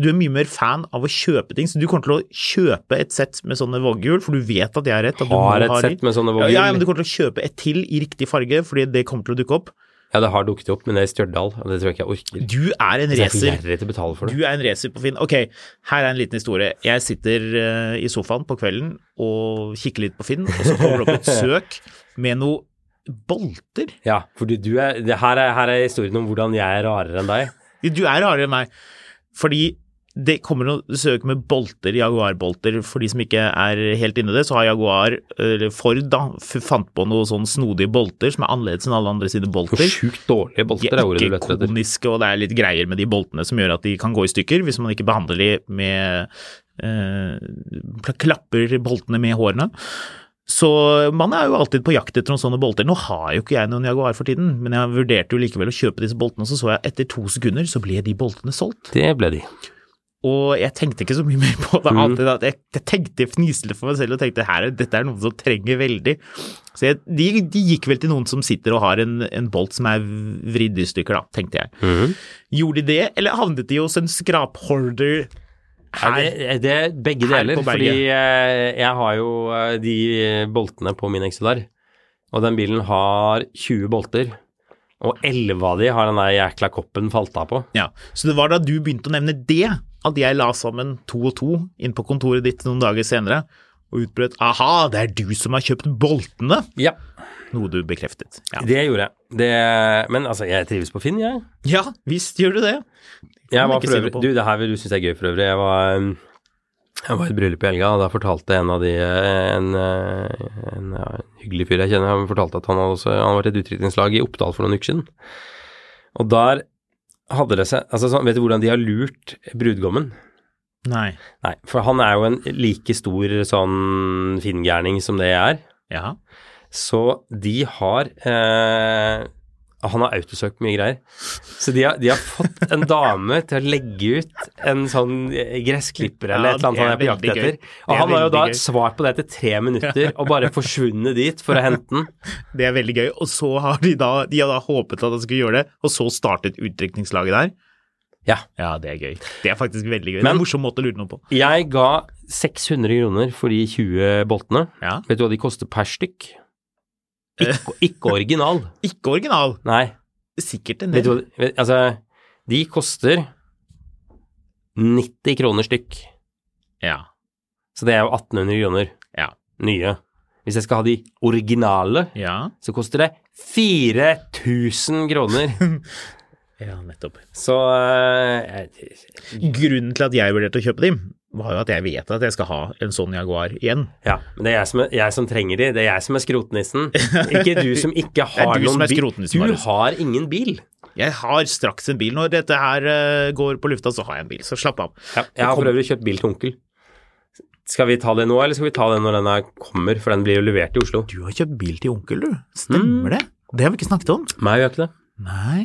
C: Du er mye mer fan av å kjøpe ting, så du kommer til å kjøpe et sett med sånne vogghjul, for du vet at jeg har rett. At du må
B: har et
C: ha de.
B: sett med sånne
C: ja,
B: Vogue-hjul.
C: ja, men du kommer til å kjøpe et til i riktig farge, fordi det kommer til å dukke opp.
B: Ja, det har dukket opp, men det er i Stjørdal, og det tror jeg ikke jeg orker.
C: Du er en
B: Så jeg får
C: racer.
B: gjerrig til å betale for det.
C: Du er en racer på Finn. Ok, her er en liten historie. Jeg sitter eh, i sofaen på kvelden og kikker litt på Finn, og så kommer
B: [laughs]
C: det opp et søk med noe bolter.
B: Ja, fordi du er, det her, er, her er historien om hvordan jeg er rarere enn deg.
C: Du er rarere enn meg, fordi det kommer noe søk med bolter, Jaguar-bolter. For de som ikke er helt inne i det, så har Jaguar, eller Ford da, f- fant på noe sånn snodige bolter som er annerledes enn alle andre sine bolter.
B: Hvor sjukt dårlige
C: De
B: bolter
C: er
B: er ordet du
C: ikke
B: leter etter.
C: koniske, og det er litt greier med de boltene som gjør at de kan gå i stykker hvis man ikke behandler de med eh, pla- Klapper boltene med hårene. Så man er jo alltid på jakt etter noen sånne bolter. Nå har jo ikke jeg noen Jaguar for tiden, men jeg vurderte jo likevel å kjøpe disse boltene, og så så jeg etter to sekunder så ble de boltene solgt.
B: Det ble de.
C: Og jeg tenkte ikke så mye mer på det,
B: Mm.
C: annet enn at jeg, jeg tenkte fniselig for meg selv og tenkte her, er- dette er noen som trenger veldig. Så jeg, de, de gikk vel til noen som sitter og har en, en bolt som er vridd i stykker, da, tenkte jeg.
B: Mhm.
C: Gjorde de det, eller havnet de hos en skraphorder?
B: Nei, det, det er begge
C: Her
B: deler,
C: på berget.
B: fordi eh, jeg har jo eh, de boltene på min XLR, og den bilen har 20 bolter, og 11 av de har den der jækla koppen falt av på.
C: Ja, Så det var da du begynte å nevne det, at jeg la sammen to og to inn på kontoret ditt noen dager senere, og utbrøt 'aha, det er du som har kjøpt boltene',
B: Ja,
C: noe du bekreftet. Ja,
B: det gjorde jeg. Det, men altså, jeg trives på Finn, jeg.
C: ja visst gjør du det.
B: Jeg
C: man
B: var
C: ikke
B: for
C: si
B: øvrig,
C: noe på.
B: du, det her vil du synes er gøy for øvrig. Jeg var, um, jeg var i et bryllup i helga, og da fortalte en av de eh, En, eh, en ja, hyggelig fyr jeg kjenner, han fortalte at han hadde også, han var i et utdrikningslag i Oppdal for noen uker siden. Og der hadde det seg altså, sånn, Vet du hvordan de har lurt brudgommen?
C: Nei.
B: Nei, for han er jo en like stor sånn finngærning som det jeg er.
C: Ja.
B: Så de har eh, Han har autosøkt mye greier. Så de har, de har fått en dame til å legge ut en sånn eh, gressklipper eller
C: Ja,
B: et eller annet han er på
C: det er
B: jakt
C: veldig gøy.
B: etter.
C: Det
B: Og
C: er
B: han har jo da
C: veldig gøy.
B: svart på det etter tre minutter og bare forsvunnet dit for å hente den.
C: Det er veldig gøy. Og så har de da, de har da håpet at han skulle gjøre det, og så startet utdrikningslaget der.
B: Ja.
C: Ja, det er gøy. Det er faktisk veldig gøy. det
B: Men-
C: er en morsom måte å lure noen på.
B: Jeg ga 600 kroner for de 20 boltene.
C: Ja.
B: Vet du hva de koster per stykk? Ikke, ikke original.
C: Ikke original.
B: Nei.
C: Sikkert en
B: Vet du
C: del.
B: hva vet- Altså, de koster 90 kroner stykk.
C: Ja.
B: Så det er jo 1800 kroner.
C: Ja.
B: Nye. Hvis jeg skal ha de originale,
C: Ja.
B: så koster det 4000
C: [laughs]
B: kroner.
C: ja, nettopp.
B: Så eh, jeg-
C: Grunnen til at jeg vurderte å kjøpe dem, var jo at jeg vet at jeg skal ha en sånn Jaguar igjen.
B: Ja. Men det er jeg som, er, jeg som trenger de. Det er jeg som er skrotnissen. Ikke du som
C: [laughs]
B: ikke har
C: du
B: noen
C: som er
B: bil.
C: skrotnissen,
B: Du
C: Marius.
B: har ingen bil.
C: Jeg har straks en bil. Når dette her eh, går på lufta, så har jeg en bil, så slapp av.
B: Jeg har for øvrig kjøpt bil til onkel. Skal vi ta det nå, eller skal vi ta det når den her kommer? For den blir jo levert i Oslo.
C: Du har kjøpt bil til onkel, du. Stemmer
B: Mm.
C: det? Det har vi ikke snakket om.
B: Nei, vi gjør ikke det.
C: Nei.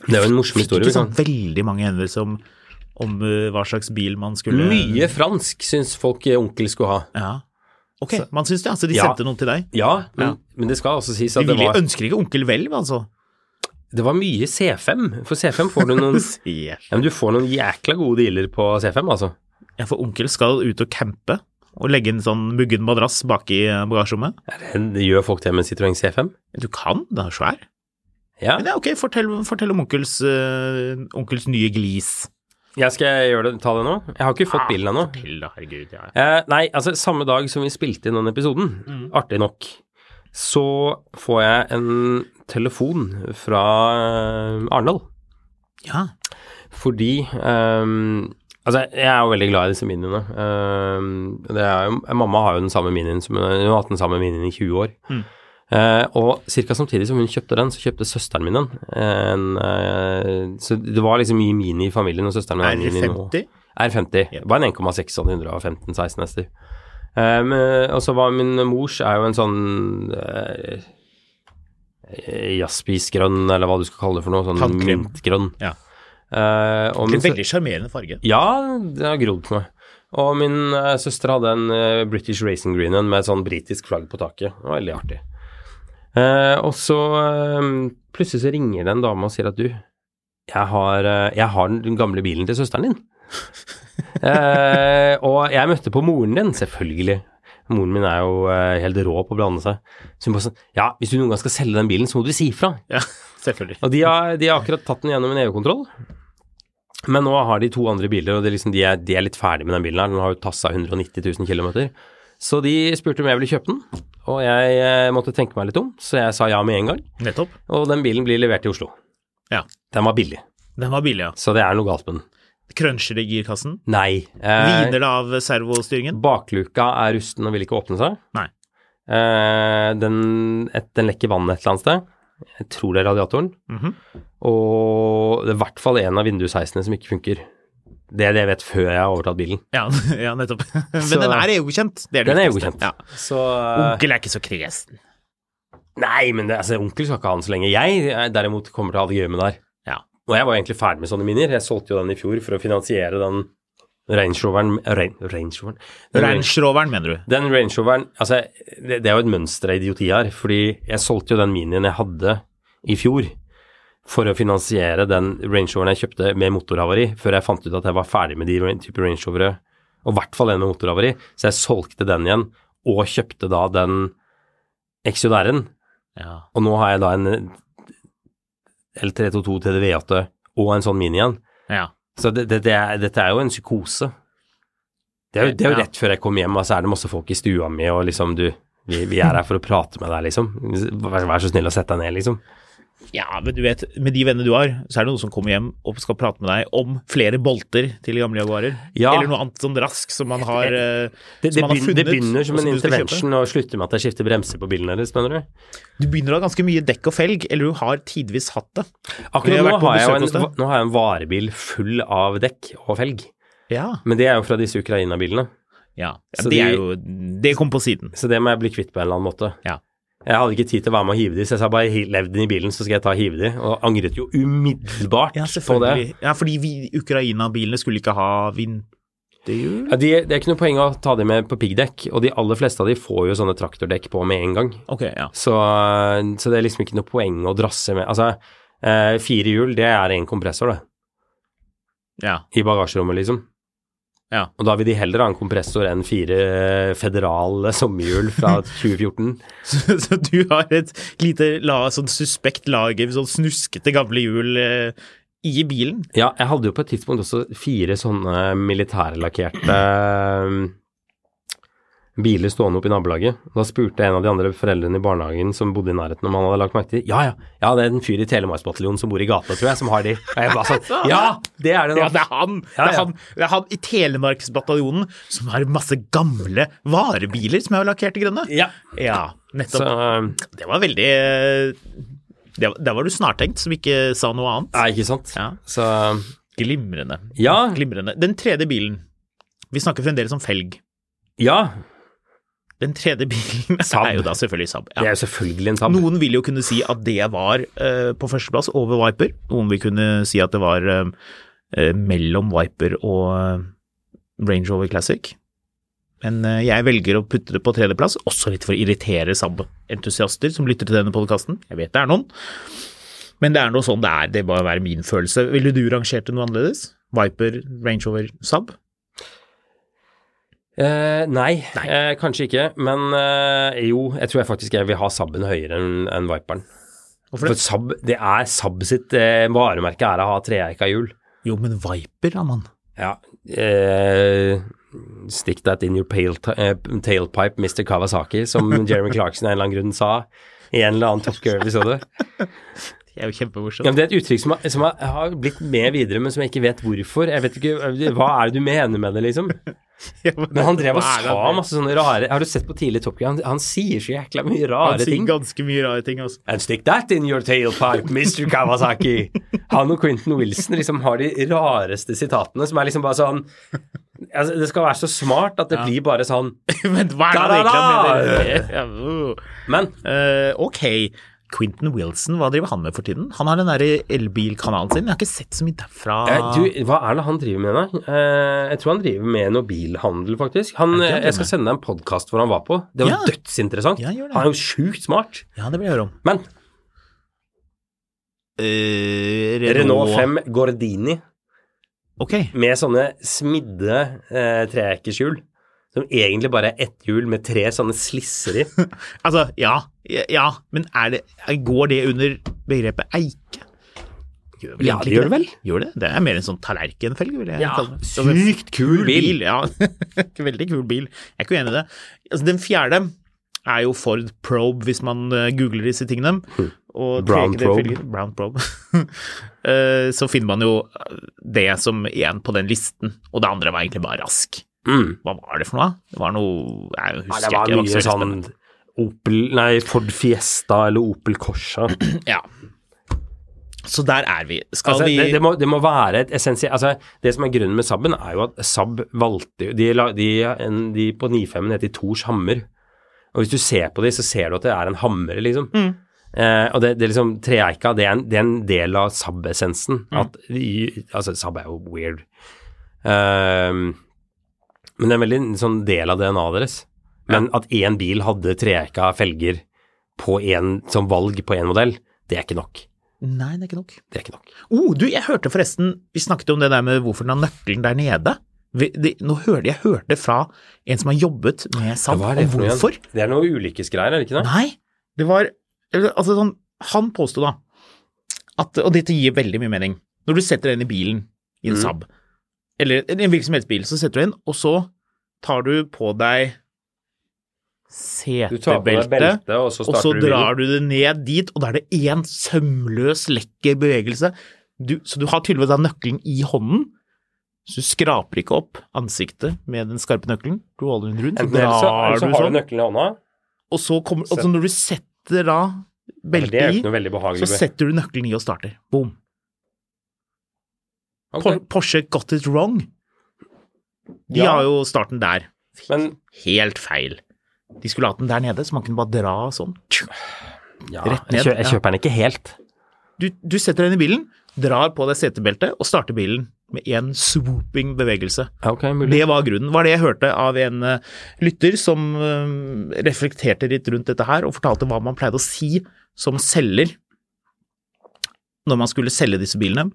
B: Det er jo en morsom historie. Vi
C: Fikk ikke sånn
B: kan.
C: veldig mange henvendelser om, om eh, hva slags bil man skulle
B: Mye fransk syns folk eh, onkel skulle ha.
C: Ja. Ok, man syns det. Altså, de
B: Ja.
C: sendte noen til deg.
B: Ja, men,
C: Ja.
B: men det skal også sies
C: De
B: at det
C: ville,
B: var
C: ønsker ikke onkel vel, altså.
B: Det var mye C5. For C5 får du
C: [laughs]
B: noen ja,
C: Yes.
B: men Du får noen jækla gode dealer på C5, altså.
C: Ja, for onkel skal ut og campe og legge en sånn muggen madrass baki eh, bagasjerommet.
B: Det gjør folk det med Citroën C5.
C: Du kan, den er svær.
B: Ja.
C: Men ja, ok, fortell, fortell om onkels, eh, onkels nye glis.
B: Jeg skal gjøre det, ta det nå. Jeg har ikke fått
C: Ah.
B: bilen ennå.
C: Fortell da, herregud. Ja.
B: Eh, nei, altså, samme dag som vi spilte inn den episoden, artig nok, så får jeg en telefon fra eh, Arendal.
C: ja.
B: Fordi ehm, Altså, jeg er jo veldig glad i disse miniene. Ehm, det er, jo- mamma har jo den samme minien som hun har hatt den samme minien i 20 år. Eh, og ca. samtidig som hun kjøpte den, så kjøpte søsteren min den. En, eh, så det var liksom mye Mini i familien, og søsteren min har en Mini nå.
C: R50?
B: R50. Det var en 1,6 sånn 115-16 hester. Um, og så var min mors er jo en sånn uh, jazzpisgrønn, eller hva du skal kalle det for noe. Sånn
C: Tannkrem.
B: mintgrønn.
C: Ja.
B: Eh, og min
C: En
B: sø-
C: veldig sjarmerende
B: [laughs]
C: farge.
B: Ja, det har grodd på meg. Og min eh, søster hadde en eh, British Racing Green en med et sånn britisk flagg på taket. Det var veldig artig. Eh, og så eh, plutselig så ringer det en dame og sier at du, jeg har, eh, jeg har den gamle bilen til søsteren din. eh, og jeg møtte på moren din, selvfølgelig. Moren min er jo eh, helt rå på å blande seg. Så hun bare sånn Ja, hvis du noen gang skal selge den bilen, så må du si ifra.
C: Ja, selvfølgelig.
B: Og de har, de har akkurat tatt den gjennom en EU-kontroll. Men nå har de to andre biler, og det er liksom, de, er, de er litt ferdig med den bilen her. Den har jo tassa 190 000 km. Så de spurte om jeg ville kjøpe den, og jeg eh, måtte tenke meg litt om, så jeg sa ja med en gang.
C: Nettopp.
B: Og den bilen blir levert til Oslo.
C: Ja.
B: Den var billig,
C: Den var billig, ja.
B: så det er noe galt med den.
C: Cruncher i girkassen.
B: Nei. Eh,
C: Hviner det av servostyringen?
B: bakluka er rusten og vil ikke åpne seg.
C: Nei.
B: Eh, den, et, den lekker vann et eller annet sted. Jeg tror det er radiatoren.
C: Mhm.
B: Og det er i hvert fall en av vindusheisene som ikke funker. Det er det jeg vet før jeg har overtatt bilen.
C: Ja, [laughs] ja, nettopp. Men
B: Så-
C: den er EU-godkjent. Det er det
B: Den er Eh. jo
C: viktigste.
B: godkjent.
C: Ja.
B: Så
C: Onkel er ikke så kresen.
B: Nei, men det, altså, onkel skal ikke ha den så lenge. Jeg eh, derimot kommer til å ha det gøy med det her.
C: Ja.
B: Og jeg var egentlig ferdig med sånne minier. Jeg solgte jo den i fjor for å finansiere den Range Roveren Rain- Range Roveren? Den Range-
C: Range Roveren, mener du?
B: Den Range Roveren altså, det, det er jo et mønster av idioti her, fordi jeg solgte jo den minien jeg hadde i fjor for å finansiere den Range Roveren jeg kjøpte med motorhavari, før jeg fant ut at jeg var ferdig med de ra- type Range Rovere, og i hvert fall en med motorhavari, så jeg solgte den igjen, og kjøpte da den XJR-en,
C: Ja.
B: og nå har jeg da en L322 TDV8 og en sånn mini igjen.
C: ja.
B: Så det, det, det er, dette er jo en psykose. Det er jo, det er jo
C: Ja.
B: rett før jeg kom hjem, og så er det masse folk i stua mi, og liksom du vi, vi er her for å prate med deg, liksom. Vær, vær så snill å sette deg ned, liksom.
C: Ja, men du vet, med de vennene du har, så er det noen som kommer hjem og skal prate med deg om flere bolter til gamle Jaguarer.
B: Ja.
C: Eller noe annet sånn rask som man har, eh,
B: Det, det,
C: som man har
B: begynner,
C: funnet.
B: det begynner som
C: og
B: en
C: som du skal kjøpe.
B: intervention og slutter med at jeg skifter bremser på bilen deres, mener du?
C: Du begynner å ha ganske mye dekk og felg, eller du har tidvis hatt det. Vi
B: Akkurat
C: har
B: nå
C: vært på
B: har, jeg jo
C: besøk hos
B: en,
C: deg.
B: nå har jeg en varebil full av dekk og felg,
C: Ja.
B: men det er jo fra disse Ukraina-bilene,
C: ja.
B: Så
C: det
B: de-
C: er jo Det kom på siden.
B: så det må jeg bli kvitt på en eller annen måte.
C: Ja.
B: Jeg hadde ikke tid til å være med og hive de, så jeg sa bare "Hi- lev den i bilen, så skal jeg ta og hive de, og angret jo umiddelbart
C: Ja,
B: på det.
C: selvfølgelig. Ja, fordi vi, Ukraina-bilene skulle ikke ha vinterhjul.
B: Ja, de, det er ikke noe poeng å ta de med på piggdekk, og de aller fleste av de får jo sånne traktordekk på med en gang.
C: Ok, ja.
B: Så, så det er liksom ikke noe poeng å drasse med. Altså, eh, fire hjul, det er en kompressor, det.
C: ja. [laughs]
B: I bagasjerommet, liksom.
C: Ja.
B: Og da vil de heller ha en kompressor enn fire eh, federale sommerhjul fra 2014.
C: Så, så du har et lite la, sånn suspekt lager, sånn snuskete gamle hjul eh, i bilen?
B: Ja, jeg hadde jo på et tidspunkt også fire sånne militærlakkerte eh, biler stående oppe i nabolaget. Da spurte en av de andre foreldrene i barnehagen som bodde i nærheten om han hadde lagt merke til Ja, ja, ja, det er en fyr i Telemarksbataljonen som bor i gata, tror jeg, som har de. Og jeg bare
C: [laughs]
B: sånn Ja, det er det
C: Ja,
B: nok.
C: det er han!
B: Ja,
C: Det, er
B: ja.
C: han det er han i Telemarksbataljonen som har masse gamle varebiler som er lakkert i grønne.
B: Ja.
C: Ja,
B: Så
C: nettopp.
B: eh,
C: Det var veldig eh, det, var- Der var du snartenkt som ikke sa noe annet.
B: Nei, ikke sant.
C: Ja.
B: Så
C: Glimrende.
B: Ja.
C: Glimrende. Den tredje bilen. Vi snakker fremdeles om felg.
B: Ja.
C: Den tredje bilen
B: Saab.
C: er jo da selvfølgelig Saab.
B: Det
C: Ja.
B: er jo selvfølgelig en tabbe.
C: Noen vil jo kunne si at det var eh, på førsteplass over Viper. Noen vil kunne si at det var eh, eh, mellom Viper og eh, Range Rover Classic. Men eh, jeg velger å putte det på tredjeplass, også litt for å irritere Saab-entusiaster som lytter til denne podkasten. Jeg vet det er noen, men det er noe sånn det er. Det må være min følelse. Ville du rangert det noe annerledes? Viper, Range Rover, Saab?
B: Eh, nei,
C: Nei.
B: Eh, kanskje ikke. Men eh, jo, jeg tror jeg faktisk jeg vil ha Sabben høyere enn enn Viperen.
C: Hvorfor
B: For
C: det?
B: Saab, det er Saab sitt eh, varemerke er å ha treeika hjul.
C: Jo, men Viper, da, mann.
B: Ja. Eh, stick that in your pale ti- eh, tailpipe, Mr. Kawasaki,
C: [laughs]
B: som Jeremy Clarkson av en eller annen grunn sa i en eller annen Top Gear-episode.
C: Det er jo kjempemorsomt.
B: Ja, men det er et uttrykk som, har- som eh, har- har blitt med videre, men som jeg ikke vet hvorfor. Jeg vet ikke, Hva er det du mener med det, liksom? Men han drev og
C: Hva er det
B: sa
C: han-
B: masse sånne rare Har du sett på tidlig Top Gun? Han, han sier så jækla mye
C: Han
B: rare
C: sier
B: ting.
C: ganske mye rare ting, altså.
B: And stick that in your tailpipe, Mr. Kawasaki. Han og Quentin Wilson liksom har de rareste sitatene, som er liksom bare sånn altså, Det skal være så smart at det blir bare sånn
C: Men hva er det han
B: Da-da-da!
C: egentlig mener? [laughs] Ja, uh.
B: Men
C: Eh, ok, Quentin Wilson, hva driver han med for tiden? Han har den derre elbilkanalen sin, jeg har ikke sett så mye derfra.
B: eh, du, hva er det han driver med, da? Eh, jeg tror han driver med noe bilhandel, faktisk. Han,
C: det han
B: eh, jeg skal
C: driver
B: sende deg en podkast hvor han var på. Det var
C: Ja.
B: dødsinteressant.
C: Ja, gjør det.
B: han er jo sjukt smart.
C: Ja, det vil jeg høre om.
B: Men Eh, Renault 5 Gordini
C: Ok,
B: med sånne smidde eh, treekershjul. Som egentlig bare er ett hjul med tre sånne slisser i.
C: [laughs] altså, ja, ja, men er det, går det under begrepet eike?
B: Ja,
C: Gjør egentlig
B: det
C: ikke
B: gjør det vel.
C: Gjør det? Det er mer en sånn tallerkenfelg, vil jeg
B: Ja,
C: kalle det.
B: sykt kul bil.
C: Ja,
B: [laughs]
C: [laughs] veldig kul bil. Jeg er ikke uenig i det. Altså, den fjerde er jo Ford Probe, hvis man eh, googler disse tingene. Og
B: Hm. Brown
C: tror jeg ikke det
B: Probe.
C: følger- Brown Probe. [laughs] Eh, Så finner man jo det som igjen på den listen, og det andre var egentlig bare rask.
B: Mm.
C: Hva var det for noe? Det var noe Jeg
B: Nei,
C: husker
B: det var
C: ikke.
B: mye
C: ikke så
B: sånn Opel, nei, Ford Fiesta eller Opel Corsa.
C: spennende. Ja. Så der er vi. Skal
B: Altså,
C: vi
B: det, det, må, det må være et essensielt altså, Det som er grunnen med Saben, er jo at Saab valgte jo- de, la- de, en- de på 95-en heter de Tors hammer. Og hvis du ser på de, så ser du at det er en hammer, liksom. Eh, og det, det er liksom Treeika, det er en, det er en del av Saab-essensen. At i- Altså, Saab er jo weird. Ehm, men det er en veldig sånn del av DNA-et deres. Men at én bil hadde treeika felger på en, som valg på én modell, det er ikke nok.
C: Nei, det er ikke nok.
B: Det er ikke nok.
C: Oh, du, jeg hørte forresten, vi snakket om det der med hvorfor den har nøkkelen der nede. Vi, det, nå hørte jeg hørte fra en som har jobbet med Saab,
B: Hva er
C: om
B: det for noe?
C: hvorfor.
B: igjen? Det er noe ulykkesgreier, er det ikke det?
C: Nei, det var eller, Altså, sånn, han påsto da at Og dette gir veldig mye mening. Når du setter den i bilen, i en
B: Mm.
C: Saab, eller en hvilken som helst bil, så setter du den, og så tar du på deg
B: Du tar på deg
C: setebelte.
B: beltet, og så
C: Og så
B: starter du bilen.
C: drar du det ned dit, og da er det én sømløs, lekker bevegelse. Du, så du har tydeligvis da nøkkelen i hånden, så du skraper ikke opp ansiktet med den skarpe nøkkelen. Du holder den rundt, så
B: Enten eller så,
C: drar
B: eller så
C: du
B: har du
C: sånn.
B: nøkkelen i hånda.
C: Og så kommer, og så når du setter da
B: men Det er
C: beltet
B: jo
C: i,
B: ikke noe veldig behagelig.
C: så setter du nøkkelen i og starter. Boom.
B: Ok.
C: Por- Porsche got it wrong. De
B: Ja.
C: har jo starten der.
B: Men
C: Helt feil. De skulle hatt den der nede, så man kunne bare dra sånn.
B: ja,
C: Rett
B: jeg,
C: ned,
B: kjøper, jeg
C: ja.
B: kjøper den ikke helt.
C: Du, du setter den i bilen, drar på deg setebeltet og starter bilen med én swooping bevegelse.
B: Ok, mulig.
C: Det var grunnen. var det jeg hørte av en eh, lytter som eh, reflekterte litt rundt dette her, og fortalte hva man pleide å si som selger når man skulle selge disse bilene.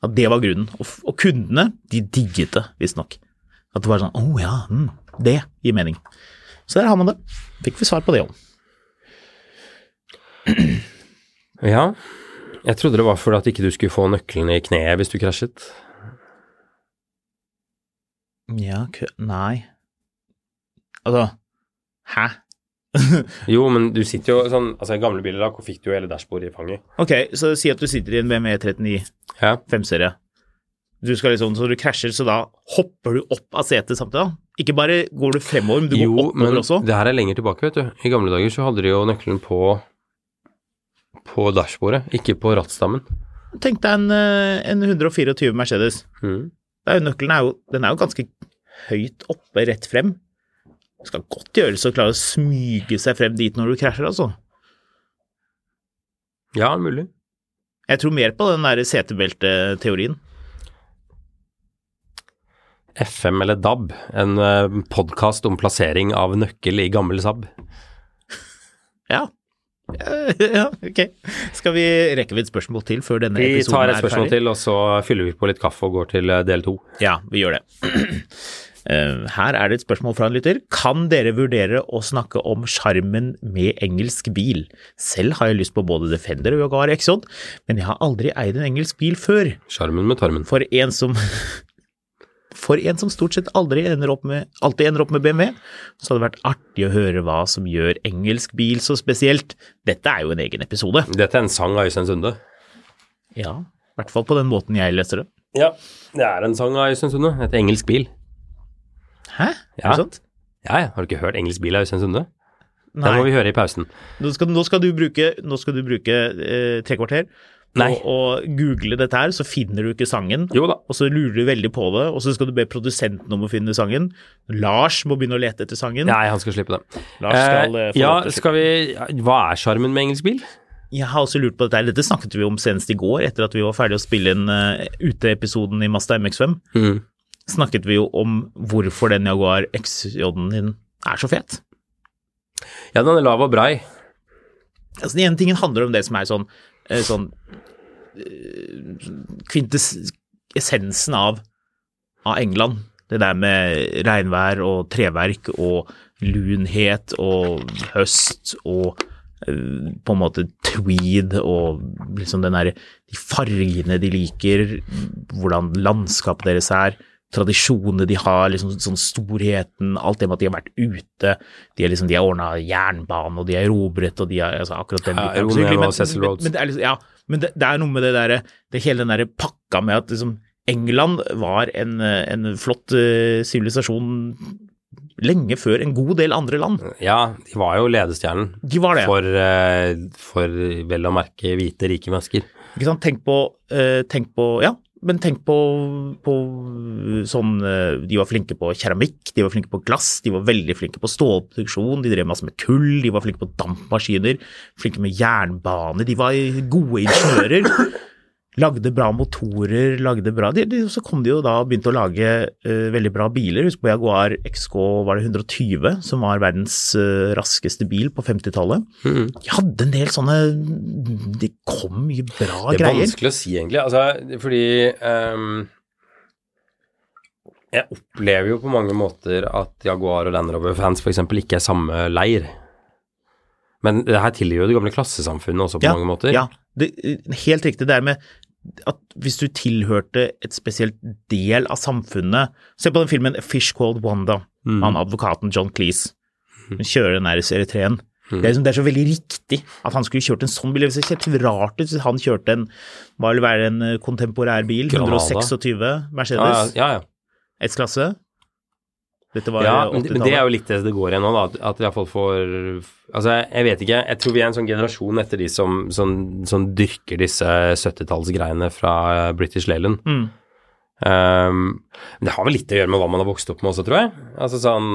C: At det var grunnen. Og, f- og kundene, de digget det, visstnok. At det var sånn Å ja, mm, det gir mening. Så der har man det. Fikk vi svar på det òg.
B: Ja. Jeg trodde det var fordi at ikke du skulle få nøkkelen i kneet hvis du krasjet.
C: Ja, kø... Nei. Altså Hæ? [laughs]
B: Jo, men du sitter jo sånn Altså, i gamle biler da hvor fikk du jo hele dashbordet i fanget.
C: Ok, så si at du sitter i en BMW 39
B: Ja.
C: 5-serie. E Du skal liksom, så du krasjer, så da hopper du opp av setet samtidig. da. Ikke bare går du fremover, men du går
B: Jo,
C: oppover
B: men
C: også.
B: det her er lenger tilbake, vet du. I gamle dager så hadde de jo nøkkelen på på dashbordet, ikke på rattstammen.
C: Tenk deg en, eh, en 124 Mercedes.
B: Mm.
C: Det er jo, nøkkelen er jo, den er jo ganske høyt oppe, rett frem. Det skal godt gjøres å klare å smyge seg frem dit når du krasjer, altså.
B: Ja, mulig.
C: Jeg tror mer på den der setebelteteorien.
B: FM eller DAB, en podkast om plassering av nøkkel i gammel Saab.
C: Ja. [laughs] ja, ok. Skal vi rekke vi et spørsmål til før denne
B: Vi
C: episoden
B: tar
C: er ferdig?
B: et spørsmål til, og så fyller vi på litt kaffe og går til eh, del to.
C: Ja, vi gjør det. [clears throat] Eh, Her er det et spørsmål fra en lytter. Kan dere vurdere å snakke om sjarmen med engelsk bil? Selv har jeg lyst på både Defender og Jaguar Exod, men jeg har aldri eid en engelsk bil før.
B: Sjarmen med tarmen.
C: For en som [laughs] For en som stort sett aldri ender opp med, alltid ender opp med BMW, så hadde det vært artig å høre hva som gjør engelsk bil så spesielt. Dette er jo en egen episode.
B: Dette er en sang av Øystein Sunde.
C: Ja, i hvert fall på den måten jeg leser det.
B: Ja, det er en sang av Øystein Sunde. Et engelsk bil.
C: Hæ? Er
B: Ja.
C: det sant?
B: Ja, ja. Har du ikke hørt Engelsk bil av Øystein Sunde? Den må
C: Nei.
B: vi høre i pausen.
C: Nå skal, nå skal du bruke, nå skal du bruke eh, tre kvarter
B: Nei.
C: og, og google dette her, så finner du ikke sangen.
B: Jo da.
C: Og så lurer du veldig på det, og så skal du be produsenten om å finne sangen. Lars må begynne å lete etter sangen.
B: Nei, han skal slippe det.
C: Lars skal, eh,
B: Eh,
C: få
B: ja,
C: lov til å
B: skal vi Hva er sjarmen med engelsk bil?
C: Jeg har også lurt på dette. her. Dette snakket vi om senest i går, etter at vi var ferdig å spille inn eh, uteepisoden i Mazda MX5.
B: Mm.
C: Snakket vi jo om hvorfor den Jaguar XJ-en din er så fet.
B: Ja, den er lav og brei.
C: Altså, den ene tingen handler om det som er sånn, eh, sånn eh, kvintes, essensen av, av England. Det der med regnvær og treverk og lunhet og høst og eh, på en måte tweed og liksom den der, de fargene de liker, hvordan landskapet deres er, tradisjonene de har, liksom sånn storheten, alt det med at de har vært ute, de er liksom, de har ordna jernbane og de har erobret og de har altså, akkurat den
B: Ja,
C: biten er
B: Romeo
C: hyggelig,
B: og Cecil
C: men,
B: Rhodes.
C: men det er liksom, ja, men det, det er noe med det derre Det hele den derre pakka med at liksom England var en, eh, en flott eh, sivilisasjon lenge før en god del andre land.
B: Ja, de var jo ledestjernen
C: De var det.
B: for, eh, for vel å merke hvite, rike mennesker.
C: Ikke sant? Tenk på, eh, tenk på Ja, men tenk på, på sånn eh, De var flinke på keramikk, de var flinke på glass, de var veldig flinke på stålproduksjon, de drev masse med kull, de var flinke på dampmaskiner, flinke med jernbane, de var gode ingeniører. [coughs] Lagde bra motorer, lagde bra de, de, Så kom de jo da og begynte å lage eh, veldig bra biler. Husk på Jaguar XK var det 120, som var verdens eh, raskeste bil på 50-tallet. De hadde en del sånne Det kom mye bra
B: Det er
C: greier.
B: vanskelig å si, egentlig. Altså, fordi ehm, Jeg opplever jo på mange måter at Jaguar og Land Rover-fans f.eks. ikke er samme leir. Men det her tilhører jo det gamle klassesamfunnet også, på
C: Ja,
B: mange måter.
C: Ja, det, eh, helt riktig. Det er med at hvis du tilhørte et spesielt del av samfunnet Se på den filmen A Fish Called Wanda.
B: Mm.
C: Han advokaten John Cleese. Han kjører den der Eritrean.
B: Mm.
C: Det, er liksom, det er så veldig riktig at han skulle kjørt en sånn bil. Det ville sett rart ut hvis han kjørte en hva vil være en eh, kontemporær bil.
B: Granada.
C: 126
B: ja, ja,
C: Mercedes.
B: ja, ja.
C: S-klasse. Dette var eh,
B: Ja, men det- men det er
C: 80-tallet.
B: jo litt det det går i nå, da. at- At i hvert fall for Altså, jeg vet ikke. Jeg tror vi er en sånn generasjon etter de som, som, som dyrker disse 70-tallsgreiene fra British Leyland.
C: Mm.
B: Um, men det har vel litt å gjøre med hva man har vokst opp med også, tror jeg. Altså sånn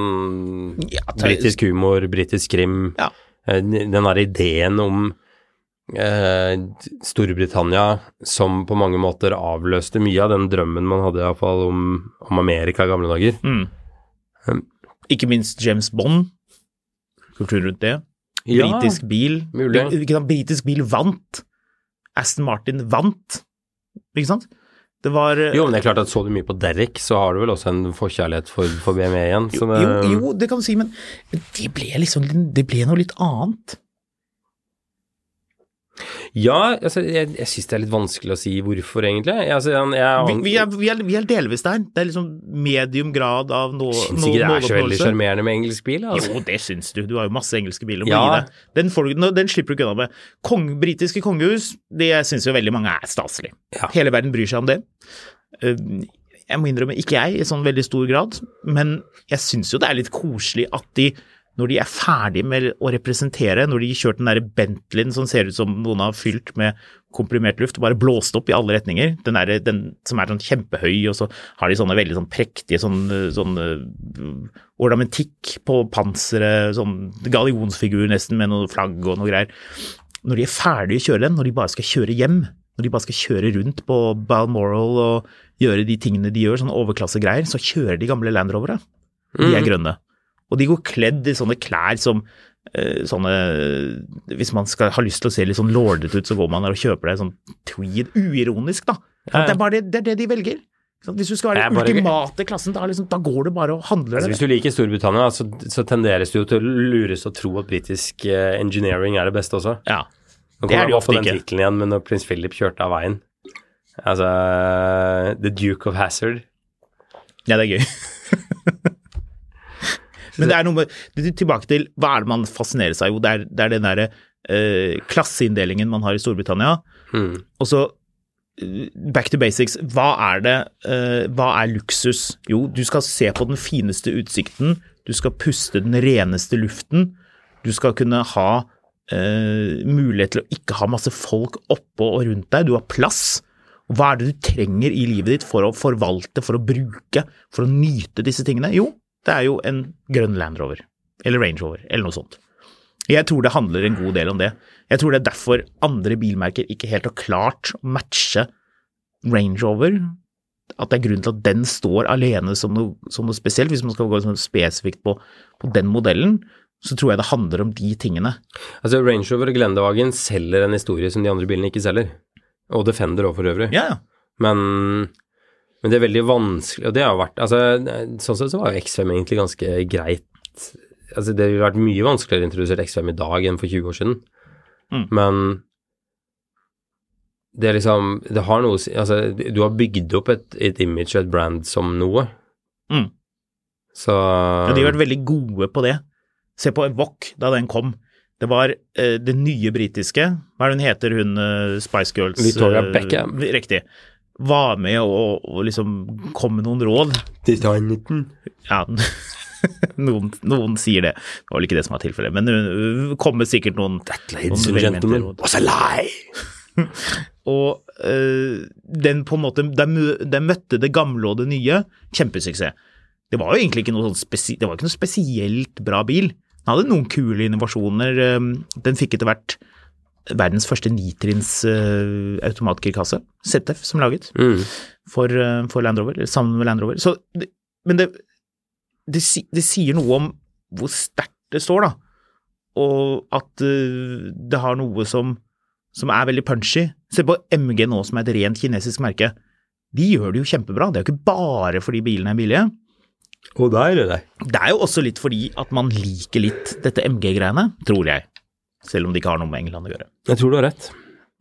C: Ja, ta-
B: Britisk humor, britisk krim.
C: Ja.
B: eh, Den der ideen om eh, Storbritannia som på mange måter avløste mye av den drømmen man hadde iallfall om, om Amerika i gamle dager.
C: Mm.
B: Um,
C: Ikke minst James Bond. Kultur rundt det. Britisk bil.
B: mulig.
C: Bri- Ikke sant? Britisk bil vant. Aston Martin vant, ikke sant? Det var eh,
B: Jo, men det er klart at så du mye på Derrick, så har du vel også en forkjærlighet for, for BMW igjen. Så det,
C: jo, jo, det kan du si, men det ble liksom Det ble noe litt annet.
B: Ja, altså, jeg, jeg syns det er litt vanskelig å si hvorfor, egentlig. Jeg, altså, jeg, jeg,
C: Vi, vi, er, vi, er, vi er delvis der. Det er liksom medium grad av nå, nå,
B: syns ikke det er så veldig
C: måloppnåelse.
B: sjarmerende med engelsk bil. Altså.
C: Jo, det syns du. Du har jo masse engelske biler. Ja.
B: Ja.
C: Gi deg. Den, får du, den slipper du ikke unna med. Kong, britiske kongehus, det syns jo veldig mange er staselig.
B: Ja.
C: Hele verden bryr seg om det. Eh, Jeg må innrømme, ikke jeg i sånn veldig stor grad, men jeg syns jo det er litt koselig at de når de er ferdige med å representere, når de har kjørt den der Bentleyen som ser ut som noen har fylt med komprimert luft, bare blåst opp i alle retninger, den, der, den som er sånn kjempehøy, og så har de sånne veldig sånn prektige sånn, sånn øh, ornamentikk på panseret, sånn gallionsfigur nesten med noe flagg og noe greier. Når de er ferdige å kjøre den, når de bare skal kjøre hjem, når de bare skal kjøre rundt på Balmoral og gjøre de tingene de gjør, sånn overklassegreier, så kjører de gamle Land Rovere. De
B: Mm.
C: er grønne. Og de går kledd i sånne klær som eh, sånne Hvis man skal ha lyst til å se litt sånn lordete ut, så går man der og kjøper deg sånn tweed. Uironisk, da.
B: Ja, ja.
C: Det, er bare det, det er det de velger. Ikke sant? Hvis du skal
B: Det
C: være
B: er
C: den
B: bare-
C: ultimate klassen, da, er liksom, da går du bare og handler
B: Altså,
C: det.
B: hvis du liker Storbritannia, så, så tenderes du jo til å lures og tro at britisk eh, engineering er det beste også.
C: Ja.
B: Nå
C: Det
B: kommer
C: er det
B: jeg
C: jo
B: opp på
C: ofte
B: den
C: ikke.
B: tittelen igjen, men når prins Philip kjørte av veien Altså The Duke of Hazard.
C: ja, det er gøy. Men det er noe med det- det- Tilbake til hva er det man fascinerer seg av? Jo, det
B: Hmm.
C: er, det er den derre eh, klasseinndelingen man har i Storbritannia. Og så back to basics. Hva er det eh, Hva er luksus? Jo, du skal se på den fineste utsikten, du skal puste den reneste luften, du skal kunne ha eh, mulighet til å ikke ha masse folk oppå og rundt deg, du har plass. Og Hva er det du trenger i livet ditt for å forvalte, for å bruke, for å nyte disse tingene? Jo, det er jo en grønn Land Rover, eller Range Rover, eller noe sånt. Jeg tror det handler en god del om det. Jeg tror det er derfor andre bilmerker ikke helt har klart å matche Range Rover. At det er grunn til at den står alene som noe, som noe spesielt. Hvis man skal gå sånn spesifikt på, på den modellen, så tror jeg det handler om de tingene.
B: Altså Range Rover og Glendevagen selger en historie som de andre bilene ikke selger. Og Defender òg, for øvrig.
C: Ja, ja.
B: Men, men det er veldig vanskelig, og det har jo vært altså, Sånn sett så var jo X5 egentlig ganske greit. Altså, det ville vært mye vanskeligere å introdusere X5 i dag enn for 20 år siden.
C: Mm.
B: Men det er liksom Det har noe å si Altså, du har bygd opp et, et image og et brand som noe.
C: Mm.
B: Så
C: Ja, de har vært veldig gode på det. Se på Evoque da den kom. Det var eh, det nye britiske Hva er det hun heter, hun eh, Spice Girls?
B: Victoria
C: eh,
B: Beckham.
C: riktig. Var med og, og liksom kom med noen råd.
B: Titanen.
C: Ja, [laughs] noen, noen sier det. Det var vel ikke det som var tilfellet, men det kommer sikkert noen
B: Ladies and
C: noen
B: gentlemen.
C: velmente råd.
B: Was a lie!
C: Og eh, den på en måte den, mø- den møtte det gamle og det nye. Kjempesuksess. Det var jo egentlig ikke noe, sånn spesi det var ikke noe spesielt bra bil. Den hadde noen kule innovasjoner. eh, Den fikk etter hvert verdens første nitrinns uh, automatgirkasse, ZF, som laget
B: Mm.
C: for, eh, for Land Rover, eller sammen med Land Rover. Så, det, men det, det, si- det sier noe om hvor sterkt det står, da. Og at eh, det har noe som, som er veldig punchy. Se på MG nå, som er et rent kinesisk merke. De gjør det jo kjempebra. Det er jo ikke bare fordi bilene er billige.
B: Og der er det.
C: Det er jo også litt fordi at man liker litt dette MG-greiene, tror jeg. Selv om det ikke har noe med England å gjøre.
B: Jeg tror du har rett.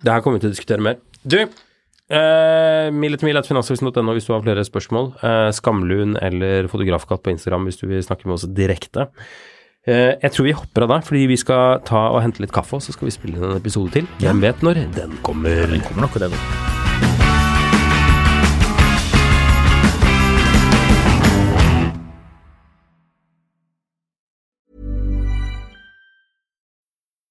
B: Det her kommer vi til å diskutere mer. Du, eh, mil etter mil at finansavisen.no hvis du har flere spørsmål. Eh, Skamlund eller Fotografkatt på Instagram hvis du vil snakke med oss direkte. Eh, jeg tror vi hopper av der, fordi vi skal ta og hente litt kaffe, og så skal vi spille inn en episode til. Hvem vet når den kommer.
C: Det kommer nok det nå.